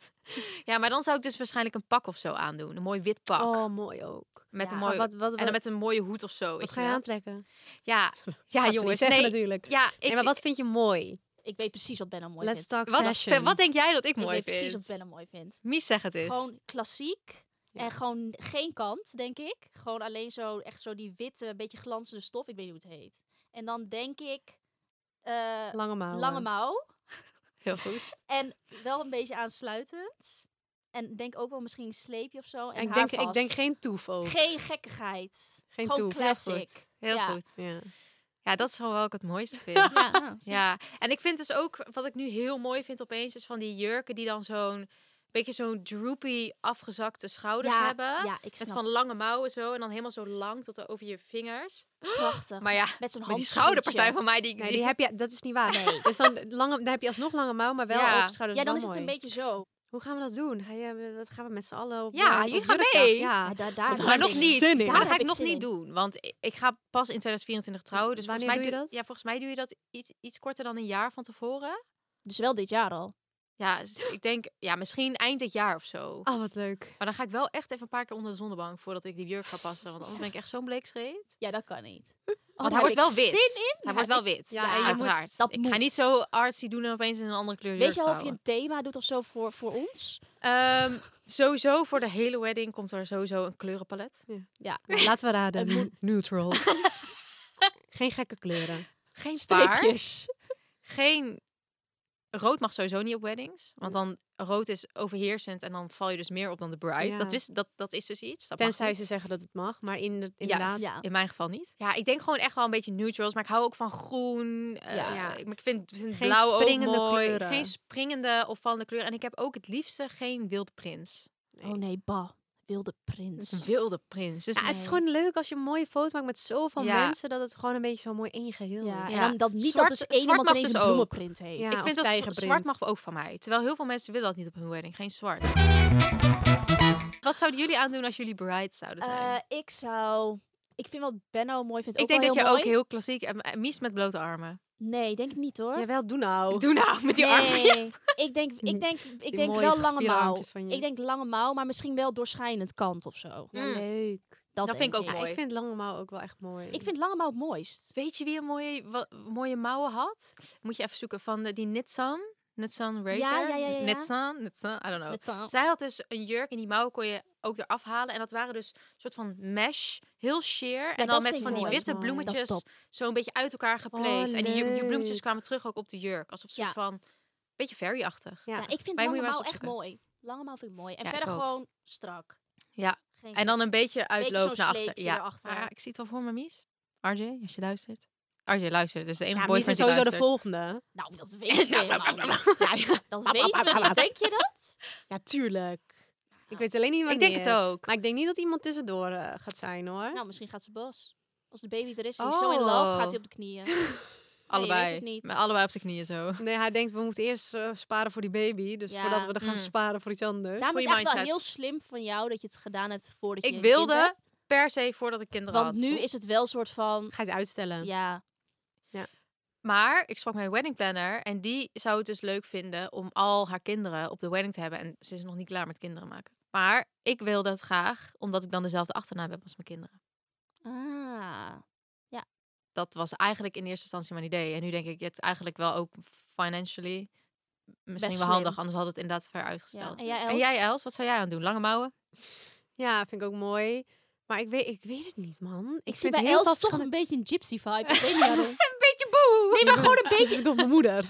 [SPEAKER 1] ja, maar dan zou ik dus waarschijnlijk een pak of zo aandoen. Een mooi wit pak.
[SPEAKER 3] Oh, mooi ook.
[SPEAKER 1] met
[SPEAKER 2] ja.
[SPEAKER 1] een
[SPEAKER 3] Maar
[SPEAKER 1] mooi...
[SPEAKER 3] wat, wat,
[SPEAKER 1] en dan
[SPEAKER 3] wat,
[SPEAKER 1] met een mooie hoed of zo. weet
[SPEAKER 3] wat
[SPEAKER 1] je
[SPEAKER 3] ga je
[SPEAKER 1] wel.
[SPEAKER 3] aantrekken?
[SPEAKER 1] Ja, ja
[SPEAKER 3] Gaat ze niet
[SPEAKER 1] jongens.
[SPEAKER 3] zeggen
[SPEAKER 1] Nee,
[SPEAKER 3] natuurlijk.
[SPEAKER 1] ja, ik,
[SPEAKER 3] nee, maar wat vind je mooi?
[SPEAKER 2] Ik weet precies wat Benno mooi
[SPEAKER 3] Let's
[SPEAKER 2] vindt.
[SPEAKER 3] talk
[SPEAKER 1] wat,
[SPEAKER 3] fashion.
[SPEAKER 1] wat denk jij dat ik
[SPEAKER 2] Ik
[SPEAKER 1] mooi
[SPEAKER 2] weet precies
[SPEAKER 1] vind?
[SPEAKER 2] wat Benno mooi vindt.
[SPEAKER 1] Mies zeg het eens.
[SPEAKER 2] Gewoon klassiek.
[SPEAKER 3] Ja.
[SPEAKER 2] En gewoon geen kant, denk ik. Gewoon alleen zo, echt zo die witte, beetje glanzende stof. Ik weet niet hoe het heet. En dan denk ik... eh,
[SPEAKER 3] Lange mouwen.
[SPEAKER 2] lange mouw.
[SPEAKER 1] Heel goed.
[SPEAKER 2] En wel een beetje aansluitend. En denk ook wel misschien een sleepje of zo. En
[SPEAKER 3] En ik, denk,
[SPEAKER 2] haarvast.
[SPEAKER 3] ik denk geen toef ook.
[SPEAKER 2] Geen gekkigheid.
[SPEAKER 3] Geen
[SPEAKER 2] Gewoon
[SPEAKER 3] toef. Heel
[SPEAKER 2] classic.
[SPEAKER 1] Goed. Heel
[SPEAKER 2] Ja.
[SPEAKER 1] goed.
[SPEAKER 3] Ja.
[SPEAKER 1] Ja, dat is gewoon wel wat ik het mooiste vind.
[SPEAKER 2] Ja, nou, zie je.
[SPEAKER 1] Ja, en ik vind dus ook, wat ik nu heel mooi vind opeens, is van die jurken die dan zo'n beetje zo'n droopy afgezakte schouders
[SPEAKER 2] ja,
[SPEAKER 1] hebben.
[SPEAKER 2] Ja, ik
[SPEAKER 1] Met
[SPEAKER 2] snap
[SPEAKER 1] van lange mouwen zo en dan helemaal zo lang tot over je vingers.
[SPEAKER 2] prachtig.
[SPEAKER 1] Maar ja,
[SPEAKER 2] met zo'n
[SPEAKER 1] maar die
[SPEAKER 2] handschoentje.
[SPEAKER 1] schouderpartij van mij, die,
[SPEAKER 3] Nee,
[SPEAKER 1] die-
[SPEAKER 3] die heb je, dat is niet waar. Nee. Dus dan, lange, dan heb je alsnog lange mouw, maar wel
[SPEAKER 1] Ja.
[SPEAKER 3] open schouders.
[SPEAKER 2] Ja, dan
[SPEAKER 3] wel
[SPEAKER 2] is het een
[SPEAKER 3] mooi.
[SPEAKER 2] beetje zo.
[SPEAKER 3] Hoe gaan we dat doen? Ga je, dat gaan we met z'n allen op
[SPEAKER 1] Ja,
[SPEAKER 3] eh, op
[SPEAKER 1] jullie gaan
[SPEAKER 3] jurkdag.
[SPEAKER 1] mee.
[SPEAKER 3] Ja.
[SPEAKER 2] Ja, daar, daar
[SPEAKER 3] Maar
[SPEAKER 1] maar
[SPEAKER 2] heb
[SPEAKER 1] nog
[SPEAKER 2] ik
[SPEAKER 1] niet.
[SPEAKER 2] zin in.
[SPEAKER 3] Maar
[SPEAKER 1] Maar
[SPEAKER 2] Daar
[SPEAKER 1] dat ga
[SPEAKER 2] heb
[SPEAKER 1] ik nog
[SPEAKER 2] zin
[SPEAKER 1] niet
[SPEAKER 2] in.
[SPEAKER 1] doen, want i- ik ga pas in 2024 trouwen. Dus
[SPEAKER 3] Wanneer
[SPEAKER 1] volgens mij
[SPEAKER 3] doe je dat?
[SPEAKER 1] Ja, volgens mij doe je dat iets, iets korter dan een jaar van tevoren.
[SPEAKER 2] Dus wel dit jaar al.
[SPEAKER 1] Ja, dus ik denk, ja, misschien eind dit jaar of zo.
[SPEAKER 3] Oh, wat leuk.
[SPEAKER 1] Maar dan ga ik wel echt even een paar keer onder de zonnebank voordat ik die jurk ga passen. Want anders ben ik echt zo'n bleekscheet.
[SPEAKER 2] Ja, dat kan niet. Oh,
[SPEAKER 1] Want hij wordt wel wit. Hij
[SPEAKER 2] Ja,
[SPEAKER 1] wordt wel wit.
[SPEAKER 3] ja, en
[SPEAKER 1] Ja,
[SPEAKER 3] je moet-
[SPEAKER 1] uiteraard.
[SPEAKER 2] dat
[SPEAKER 1] ik ga
[SPEAKER 2] moet.
[SPEAKER 1] niet zo artsy doen en opeens in een andere kleur
[SPEAKER 2] Weet je al
[SPEAKER 1] jurk
[SPEAKER 2] of je een
[SPEAKER 1] trouwen.
[SPEAKER 2] thema doet of zo voor, voor ons?
[SPEAKER 1] Ehm, sowieso voor de hele wedding komt er sowieso een kleurenpalet.
[SPEAKER 2] Ja.
[SPEAKER 3] laten we raden.
[SPEAKER 2] Het moet-
[SPEAKER 3] Neutral. Geen gekke kleuren.
[SPEAKER 1] Geen staar.
[SPEAKER 2] Streepjes.
[SPEAKER 1] Geen... Rood mag sowieso niet op weddings. Want dan rood is overheersend en dan val je dus meer op dan de bride.
[SPEAKER 3] Ja.
[SPEAKER 1] Dat, wist, dat, dat is dus iets. Dat mag
[SPEAKER 3] Tenzij
[SPEAKER 1] niet.
[SPEAKER 3] ze zeggen dat het mag, maar in de,
[SPEAKER 1] Ja,
[SPEAKER 3] inderdaad.
[SPEAKER 2] ja.
[SPEAKER 1] In mijn geval niet. Ja, ik denk gewoon echt wel een beetje neutrals. Maar ik hou ook van groen. eh,
[SPEAKER 2] Ja.
[SPEAKER 1] ja. Ik maar ik vind, vind
[SPEAKER 3] Geen
[SPEAKER 1] blauw ook
[SPEAKER 3] springende
[SPEAKER 1] mooi.
[SPEAKER 3] kleuren.
[SPEAKER 1] Geen springende opvallende kleuren. En ik heb ook het liefste geen wilde prins.
[SPEAKER 2] Oh nee, ba. Wilde prins.
[SPEAKER 1] Een wilde prins. Dus
[SPEAKER 3] Ja, het is gewoon leuk als je een mooie foto maakt met zoveel
[SPEAKER 1] Ja.
[SPEAKER 3] mensen dat het gewoon een beetje zo mooi één geheel
[SPEAKER 2] Ja,
[SPEAKER 3] is.
[SPEAKER 2] en
[SPEAKER 1] Ja.
[SPEAKER 2] dan dat niet
[SPEAKER 1] Zwart-
[SPEAKER 2] dat dus
[SPEAKER 1] zwart
[SPEAKER 2] één iemand
[SPEAKER 1] mag
[SPEAKER 2] ineens
[SPEAKER 1] dus
[SPEAKER 2] een
[SPEAKER 1] ook.
[SPEAKER 2] bloemenprint heeft.
[SPEAKER 3] Ja,
[SPEAKER 1] ik vind
[SPEAKER 3] of
[SPEAKER 1] dat z-
[SPEAKER 3] tijgerprint.
[SPEAKER 1] zwart mag ook van mij. Terwijl heel veel mensen willen dat niet op hun wedding. Geen zwart. Wat zouden jullie aandoen als jullie bride zouden zijn?
[SPEAKER 2] Eh, ik zou... Ik vind wat Benno mooi vindt
[SPEAKER 1] ik
[SPEAKER 2] ook
[SPEAKER 1] denk
[SPEAKER 2] wel
[SPEAKER 1] dat je
[SPEAKER 2] heel
[SPEAKER 1] ook
[SPEAKER 2] mooi.
[SPEAKER 1] heel klassiek en en Mies met blote armen.
[SPEAKER 2] Nee, denk ik niet hoor.
[SPEAKER 3] Jawel, doe nou.
[SPEAKER 1] Doe nou met die armen.
[SPEAKER 2] Nee, ik denk, ik denk, ik denk
[SPEAKER 3] mooie
[SPEAKER 2] wel lange
[SPEAKER 3] gespierde
[SPEAKER 2] mouw.
[SPEAKER 3] armpjes van je.
[SPEAKER 2] Ik denk lange mouw, maar misschien wel doorschijnend kant of zo.
[SPEAKER 3] Ja,
[SPEAKER 1] Mm.
[SPEAKER 3] leuk.
[SPEAKER 2] Dat,
[SPEAKER 1] Dat vind
[SPEAKER 2] denk
[SPEAKER 1] ik ook
[SPEAKER 3] Ja,
[SPEAKER 1] mooi.
[SPEAKER 3] ik vind lange mouw ook wel echt mooi.
[SPEAKER 2] Ik vind lange mouw het mooist.
[SPEAKER 1] Weet je wie een mooie, wa- mooie mouwen had? Moet je even zoeken van de, die Nitsan. Nitsan Raider.
[SPEAKER 2] ja, ja, ja.
[SPEAKER 1] Nitsan, Nitsan, I don't know.
[SPEAKER 2] Met zo'n-
[SPEAKER 1] Zij had dus een jurk en die mouwen kon je ook eraf halen. En dat waren dus een soort van mesh, heel sheer. en
[SPEAKER 2] dat
[SPEAKER 1] dan met
[SPEAKER 2] vind
[SPEAKER 1] van
[SPEAKER 2] ik
[SPEAKER 1] die
[SPEAKER 2] mooi.
[SPEAKER 1] witte
[SPEAKER 3] Dat is mooi.
[SPEAKER 2] Dat is
[SPEAKER 1] bloemetjes
[SPEAKER 2] top.
[SPEAKER 1] zo een beetje uit elkaar geplaced. en die, ju- die bloemetjes
[SPEAKER 3] leuk.
[SPEAKER 1] kwamen terug ook op de jurk. Alsof een soort
[SPEAKER 2] Ja.
[SPEAKER 1] van, beetje fairy-achtig.
[SPEAKER 3] Ja.
[SPEAKER 2] Ja, ik vind
[SPEAKER 1] Maar je moet
[SPEAKER 2] lange
[SPEAKER 1] je maar eens
[SPEAKER 2] mouw echt
[SPEAKER 1] opzoeken.
[SPEAKER 2] mooi. Lange mouw vind ik mooi. En
[SPEAKER 1] Ja, ik
[SPEAKER 2] verder
[SPEAKER 1] ook.
[SPEAKER 2] gewoon strak.
[SPEAKER 1] Ja.
[SPEAKER 2] Geen
[SPEAKER 1] En dan een beetje
[SPEAKER 2] beetje zo'n
[SPEAKER 1] uitloop naar achter.
[SPEAKER 2] sleepje
[SPEAKER 1] Ja. Ah.
[SPEAKER 2] erachter.
[SPEAKER 1] Maar ja, ik zie het wel voor me, Mies. RJ, als je luistert. RJ, luistert. Het is de enige
[SPEAKER 3] ja,
[SPEAKER 1] boy
[SPEAKER 3] Mies
[SPEAKER 1] van
[SPEAKER 3] is sowieso de volgende.
[SPEAKER 2] Nou, dat weten we helemaal niet.
[SPEAKER 3] Ja,
[SPEAKER 2] Dat weten we niet. Denk je dat?
[SPEAKER 3] ja, tuurlijk. Ik weet alleen niet
[SPEAKER 1] Ik
[SPEAKER 3] wanneer.
[SPEAKER 1] denk het ook.
[SPEAKER 3] Maar ik denk niet dat iemand tussendoor eh, gaat zijn hoor.
[SPEAKER 2] Nou, misschien gaat ze bos. Als de baby er is, die is zo in love,
[SPEAKER 1] Oh.
[SPEAKER 2] gaat hij op de knieën.
[SPEAKER 1] Allebei.
[SPEAKER 2] het niet.
[SPEAKER 1] Met allebei op zijn knieën zo.
[SPEAKER 3] Nee, hij denkt we moeten eerst eh, sparen voor die baby. Dus
[SPEAKER 2] Ja.
[SPEAKER 3] voordat we er gaan
[SPEAKER 1] Mm.
[SPEAKER 3] sparen voor iets anders.
[SPEAKER 2] Daarom is
[SPEAKER 1] Goeie
[SPEAKER 2] het echt wel
[SPEAKER 1] mindset.
[SPEAKER 2] heel slim van jou dat je het gedaan hebt voordat je
[SPEAKER 1] Ik
[SPEAKER 2] een kind hebt.
[SPEAKER 1] wilde per se voordat ik kinderen
[SPEAKER 2] Want
[SPEAKER 1] had.
[SPEAKER 2] nu is het wel een soort van...
[SPEAKER 3] Ga je het uitstellen?
[SPEAKER 2] Ja,
[SPEAKER 1] Maar ik sprak met mijn wedding planner en die zou het dus leuk vinden om al haar kinderen op de wedding te hebben. En ze is nog niet klaar met kinderen maken. Maar ik wil dat graag, omdat ik dan dezelfde achternaam heb als mijn kinderen.
[SPEAKER 2] ah,
[SPEAKER 1] Dat was eigenlijk in eerste instantie mijn idee. En nu denk ik, het is eigenlijk wel ook financially misschien
[SPEAKER 2] Best
[SPEAKER 1] wel handig.
[SPEAKER 2] slim.
[SPEAKER 1] Anders had het inderdaad ver uitgesteld.
[SPEAKER 2] En jij, Els?
[SPEAKER 1] En jij, Els, wat zou jij aan doen? Lange mouwen?
[SPEAKER 3] Ja, vind ik ook mooi. Maar ik weet, ik weet het niet, man.
[SPEAKER 2] Ik zie
[SPEAKER 3] vind
[SPEAKER 2] bij
[SPEAKER 3] heel veel
[SPEAKER 2] Els toch
[SPEAKER 3] verschillende-
[SPEAKER 2] een beetje een gypsy vibe. Ik weet niet waarom.
[SPEAKER 1] Een beetje boe!
[SPEAKER 2] Nee, maar gewoon een
[SPEAKER 3] Ik
[SPEAKER 2] beetje...
[SPEAKER 3] bedoel mijn moeder.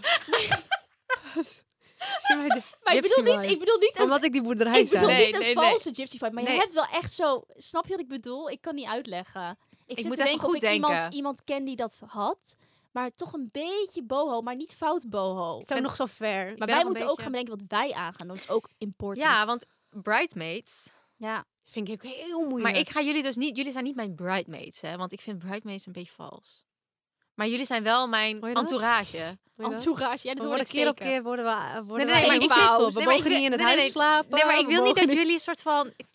[SPEAKER 3] Zie mij de-
[SPEAKER 2] Maar ik
[SPEAKER 3] gypsy
[SPEAKER 2] bedoel niet,
[SPEAKER 3] vibe.
[SPEAKER 2] ik bedoel niet een,
[SPEAKER 3] Omdat ik die boerderij
[SPEAKER 2] ik
[SPEAKER 3] zei.
[SPEAKER 2] bedoel
[SPEAKER 1] Nee,
[SPEAKER 2] niet een
[SPEAKER 1] nee, nee.
[SPEAKER 2] valse gypsy vibe. Maar je
[SPEAKER 1] Nee.
[SPEAKER 2] hebt wel echt zo... Snap je wat ik bedoel? Ik kan niet uitleggen. Ik, zit
[SPEAKER 1] moet
[SPEAKER 2] te
[SPEAKER 1] even
[SPEAKER 2] denken of
[SPEAKER 1] goed
[SPEAKER 2] ik Iemand,
[SPEAKER 1] denken.
[SPEAKER 2] iemand ken die dat had. Maar toch een beetje boho. Maar niet fout boho.
[SPEAKER 3] Zo nog zo ver.
[SPEAKER 2] Maar
[SPEAKER 1] ben
[SPEAKER 2] wij
[SPEAKER 1] nog
[SPEAKER 2] moeten
[SPEAKER 1] een
[SPEAKER 2] ook gaan bedenken wat wij aangaan. Dat is ook important.
[SPEAKER 1] Ja, want bridesmaids.
[SPEAKER 2] Ja.
[SPEAKER 3] vind ik ook heel moeilijk.
[SPEAKER 1] Maar ik ga jullie dus niet... Jullie zijn niet mijn bridesmaids, hè? Want ik vind bridesmaids een beetje vals. Maar jullie zijn wel mijn
[SPEAKER 3] Hoor je dat?
[SPEAKER 1] entourage.
[SPEAKER 2] Entourage. Ja, dat hoor
[SPEAKER 3] we worden
[SPEAKER 2] ik
[SPEAKER 3] keer op
[SPEAKER 2] zeker.
[SPEAKER 3] keer worden we, eh, worden
[SPEAKER 1] Nee, nee,
[SPEAKER 3] we
[SPEAKER 1] maar
[SPEAKER 3] geen
[SPEAKER 1] ik
[SPEAKER 3] vrouw.
[SPEAKER 1] wil-
[SPEAKER 3] We
[SPEAKER 1] nee, maar
[SPEAKER 3] mogen
[SPEAKER 1] ik wil-
[SPEAKER 3] niet in het
[SPEAKER 1] nee,
[SPEAKER 3] huis
[SPEAKER 1] nee, nee.
[SPEAKER 3] slapen.
[SPEAKER 1] Nee, maar ik
[SPEAKER 3] we
[SPEAKER 1] wil niet
[SPEAKER 3] mogen
[SPEAKER 1] dat jullie een soort van... Ik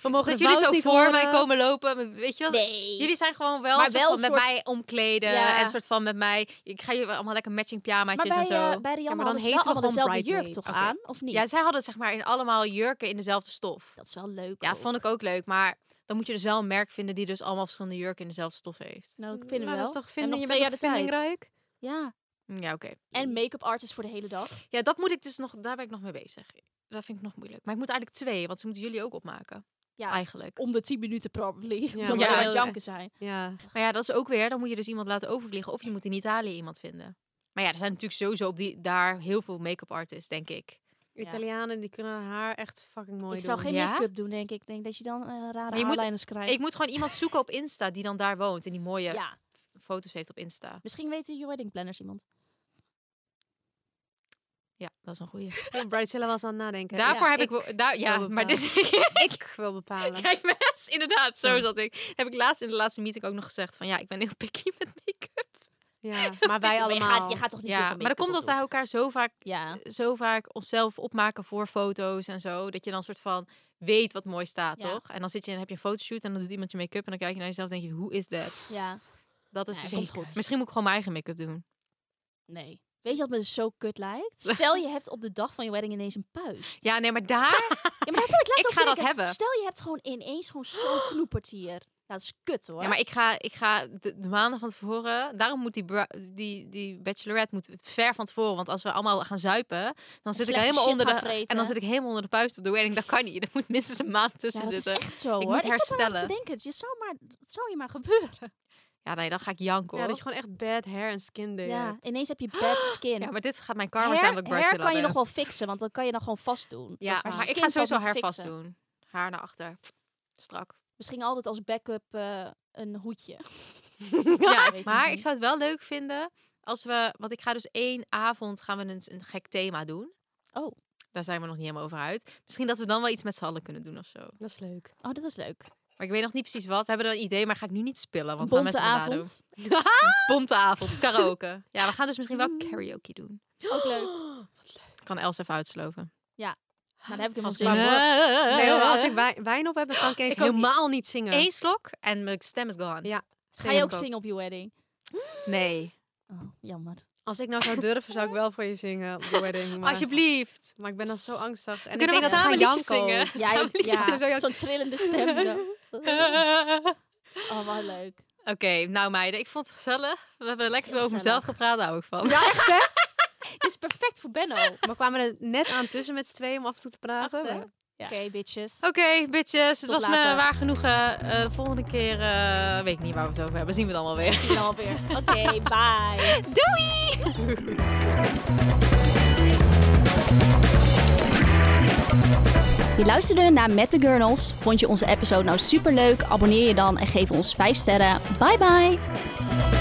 [SPEAKER 1] vind
[SPEAKER 3] mogen
[SPEAKER 1] dat
[SPEAKER 3] de
[SPEAKER 1] jullie
[SPEAKER 3] vouws
[SPEAKER 1] zo
[SPEAKER 3] niet
[SPEAKER 1] voor mij
[SPEAKER 3] horen.
[SPEAKER 1] komen lopen. met- Weet je wel?
[SPEAKER 2] Nee.
[SPEAKER 1] Jullie zijn gewoon wel,
[SPEAKER 2] Maar
[SPEAKER 1] een soort
[SPEAKER 2] wel
[SPEAKER 1] van
[SPEAKER 2] een
[SPEAKER 1] met
[SPEAKER 2] soort-
[SPEAKER 1] mij omkleden.
[SPEAKER 2] Ja.
[SPEAKER 1] En een soort van met mij... Ik ga jullie allemaal lekker matching pyjamaatjes
[SPEAKER 2] maar bij,
[SPEAKER 1] en zo.
[SPEAKER 2] eh, bij Rianne
[SPEAKER 3] Ja, maar dan
[SPEAKER 2] hadden ze
[SPEAKER 3] heten
[SPEAKER 2] wel
[SPEAKER 3] we
[SPEAKER 2] allemaal
[SPEAKER 3] gewoon
[SPEAKER 2] dezelfde jurk toch
[SPEAKER 3] bridesmaids.
[SPEAKER 2] aan? Of niet?
[SPEAKER 1] ja, zij hadden zeg maar in allemaal jurken in dezelfde stof.
[SPEAKER 2] dat is wel leuk.
[SPEAKER 1] Ja, vond ik ook leuk. Maar dan moet je dus wel een merk vinden die dus allemaal verschillende jurken in dezelfde stof heeft.
[SPEAKER 2] Nou, dat
[SPEAKER 3] Nou,
[SPEAKER 2] vinden we
[SPEAKER 3] dat
[SPEAKER 2] wel.
[SPEAKER 3] is toch
[SPEAKER 2] en
[SPEAKER 3] vinden,
[SPEAKER 2] nog
[SPEAKER 3] je
[SPEAKER 2] twee jaar
[SPEAKER 3] bent toch
[SPEAKER 2] de tijd.
[SPEAKER 3] vindingrijk?
[SPEAKER 2] Ja.
[SPEAKER 1] Ja, oké.
[SPEAKER 2] En make-up artist voor de hele dag.
[SPEAKER 1] Ja, dat moet ik dus nog, daar ben ik nog mee bezig. Dat vind ik nog moeilijk. Maar ik moet eigenlijk twee, want ze moeten jullie ook opmaken.
[SPEAKER 2] Ja.
[SPEAKER 1] Eigenlijk.
[SPEAKER 2] Om de 10 minuten probably. Ja,
[SPEAKER 3] maar
[SPEAKER 2] Omdat ze
[SPEAKER 1] ja.
[SPEAKER 2] aan het janken zijn.
[SPEAKER 3] Ja.
[SPEAKER 1] Maar ja, dat is ook weer, dan moet je dus iemand laten overvliegen. Of je moet in Italië iemand vinden. Maar ja, er zijn natuurlijk sowieso op die, daar heel veel make-up artists, denk ik.
[SPEAKER 3] Italianen die kunnen haar echt fucking mooi
[SPEAKER 2] ik zou
[SPEAKER 3] doen.
[SPEAKER 2] geen
[SPEAKER 1] Ja?
[SPEAKER 2] make-up doen, denk ik. Ik denk dat je dan eh, rare
[SPEAKER 1] je moet-
[SPEAKER 2] haarlijners krijgt.
[SPEAKER 1] Ik moet gewoon iemand zoeken op Insta die dan daar woont. En die mooie
[SPEAKER 2] Ja,
[SPEAKER 1] foto's heeft op Insta.
[SPEAKER 2] misschien weten je wedding planners iemand.
[SPEAKER 1] Ja, dat is een goeie.
[SPEAKER 3] Hey, Bridezilla was aan het nadenken.
[SPEAKER 1] Daarvoor
[SPEAKER 3] Ja,
[SPEAKER 1] heb ik... wel- daar, ja,
[SPEAKER 3] wil
[SPEAKER 1] maar dit...
[SPEAKER 3] Ik wil bepalen.
[SPEAKER 1] Kijk, mes, inderdaad, zo zat ik. Heb ik laatst in de laatste meeting ook nog gezegd van... Ja, ik ben heel picky met make-up.
[SPEAKER 3] Ja, maar wij
[SPEAKER 2] Maar je
[SPEAKER 3] allemaal.
[SPEAKER 2] gaat, je gaat toch niet heel
[SPEAKER 1] Ja,
[SPEAKER 2] veel
[SPEAKER 1] maar dat komt dat
[SPEAKER 2] make-up
[SPEAKER 1] wij elkaar zo vaak
[SPEAKER 2] opdoen? Ja.
[SPEAKER 1] zo vaak onszelf opmaken voor foto's en zo. Dat je dan een soort van weet wat mooi staat,
[SPEAKER 2] Ja.
[SPEAKER 1] toch? En dan zit je en heb je een fotoshoot en dan doet iemand je make-up. En dan kijk je naar jezelf en denk je, hoe is dat?
[SPEAKER 2] Ja.
[SPEAKER 1] Dat is
[SPEAKER 2] Nee, komt goed.
[SPEAKER 1] Misschien moet ik gewoon mijn eigen make-up doen.
[SPEAKER 2] Nee. Weet je wat me dus zo kut lijkt? Stel je hebt op de dag van je wedding ineens een puist.
[SPEAKER 1] Ja, nee, maar daar...
[SPEAKER 2] Ja, maar daar zat ik laatst
[SPEAKER 1] Ik ga
[SPEAKER 2] over
[SPEAKER 1] dat
[SPEAKER 2] te denken.
[SPEAKER 1] hebben.
[SPEAKER 2] Stel je hebt gewoon ineens gewoon zo'n knoepert hier. Nou, dat is kut hoor.
[SPEAKER 1] ja, maar ik ga, ik ga de, de maanden van tevoren... Daarom moet die, bra- die, die bachelorette moet ver van tevoren. Want als we allemaal gaan zuipen, dan zit ik
[SPEAKER 2] Slechte
[SPEAKER 1] helemaal
[SPEAKER 2] shit
[SPEAKER 1] onder
[SPEAKER 2] gaan
[SPEAKER 1] de...
[SPEAKER 2] vreten.
[SPEAKER 1] En dan zit ik helemaal onder de puist op de wedding. Dat kan niet. Er moet minstens een maand
[SPEAKER 2] Ja,
[SPEAKER 1] tussen
[SPEAKER 2] dat is
[SPEAKER 1] zitten.
[SPEAKER 2] echt zo
[SPEAKER 1] Ik
[SPEAKER 2] hoor.
[SPEAKER 1] moet
[SPEAKER 2] ik zat maar aan te
[SPEAKER 1] herstellen.
[SPEAKER 2] denken, het zou, maar, het zou je maar gebeuren.
[SPEAKER 1] Ja, nee, dan ga ik janken,
[SPEAKER 3] Ja,
[SPEAKER 1] hoor.
[SPEAKER 3] dat je gewoon echt bad hair en skin day
[SPEAKER 2] Ja,
[SPEAKER 3] hebt.
[SPEAKER 2] ineens heb je bad skin.
[SPEAKER 1] Ja, maar dit gaat mijn karma
[SPEAKER 2] hair,
[SPEAKER 1] zijn wat ik
[SPEAKER 2] hair
[SPEAKER 1] Brazil
[SPEAKER 2] kan je nog wel fixen, want dan kan je dan gewoon vast doen. Dat
[SPEAKER 1] Ja,
[SPEAKER 2] is waar.
[SPEAKER 1] maar ik
[SPEAKER 2] Skin
[SPEAKER 1] ga
[SPEAKER 2] valt
[SPEAKER 1] sowieso
[SPEAKER 2] niet te
[SPEAKER 1] haar
[SPEAKER 2] fixen.
[SPEAKER 1] vast doen. Haar naar achter. Pff, Strak.
[SPEAKER 2] Misschien altijd als backup eh, een hoedje.
[SPEAKER 1] Ja,
[SPEAKER 2] weet het
[SPEAKER 1] maar
[SPEAKER 2] niet.
[SPEAKER 1] ik zou het wel leuk vinden als we... Want ik ga dus één avond gaan we een, een gek thema doen.
[SPEAKER 2] Oh.
[SPEAKER 1] Daar zijn we nog niet helemaal over uit. Misschien dat we dan wel iets met z'n allen kunnen doen of zo.
[SPEAKER 3] Dat is leuk.
[SPEAKER 2] Oh, dat is leuk.
[SPEAKER 1] Maar ik weet nog niet precies wat. We hebben er een idee, maar ga ik nu niet spillen.
[SPEAKER 2] Een
[SPEAKER 1] Want gaan
[SPEAKER 2] bonte
[SPEAKER 1] mensen me nadoen.
[SPEAKER 2] avond.
[SPEAKER 1] Bonte avond, karaoke. ja, we gaan dus misschien wel karaoke doen.
[SPEAKER 2] Ook leuk.
[SPEAKER 1] Ik kan Els even uitsloven.
[SPEAKER 2] Maar dan heb ik hem al
[SPEAKER 1] Als
[SPEAKER 2] zin
[SPEAKER 1] ik
[SPEAKER 2] in.
[SPEAKER 3] Nee, hoor, als ik wij- wijn op heb, dan kan ik ineens
[SPEAKER 1] Ik ook niet.
[SPEAKER 3] helemaal niet zingen.
[SPEAKER 1] Eén slok en mijn stem is gone.
[SPEAKER 3] Ja.
[SPEAKER 2] Ga je ook zingen op je wedding?
[SPEAKER 1] Nee.
[SPEAKER 2] Oh, jammer.
[SPEAKER 3] Als ik nou zou durven, zou ik wel voor je zingen op de wedding. Maar,
[SPEAKER 1] Alsjeblieft.
[SPEAKER 3] maar ik ben dan zo angstig. En
[SPEAKER 1] We kunnen wel
[SPEAKER 3] ik denk dat
[SPEAKER 1] samen
[SPEAKER 3] ik ga
[SPEAKER 1] liedjes
[SPEAKER 3] Janko-
[SPEAKER 1] zingen.
[SPEAKER 2] Ja,
[SPEAKER 1] Samen
[SPEAKER 2] ja,
[SPEAKER 1] liedjes zingen.
[SPEAKER 2] ja. zo'n trillende stem. zo. Oh, wat leuk.
[SPEAKER 1] Oké, nou meiden, ik vond het gezellig. We hebben lekker
[SPEAKER 2] Heel
[SPEAKER 1] veel over mezelf gepraat, daar hou ik van.
[SPEAKER 2] Ja, echt hè? Dit is perfect voor Benno. Oké,
[SPEAKER 3] We kwamen er net aan tussen met z'n tweeën om af en toe te praten.
[SPEAKER 2] Echt, hè?
[SPEAKER 3] maar-
[SPEAKER 2] bitches.
[SPEAKER 1] Oké, bitches, het
[SPEAKER 2] Tot
[SPEAKER 1] was me
[SPEAKER 2] later.
[SPEAKER 1] waar genoegen. Eh, de volgende keer eh, weet ik niet waar we het over hebben. Zien we dan wel weer.
[SPEAKER 2] Zie je dan alweer. Oké, bye. Je luisterde naar Met de Gurnals. Vond je onze episode nou superleuk? Abonneer je dan en geef ons 5 sterren. Bye bye!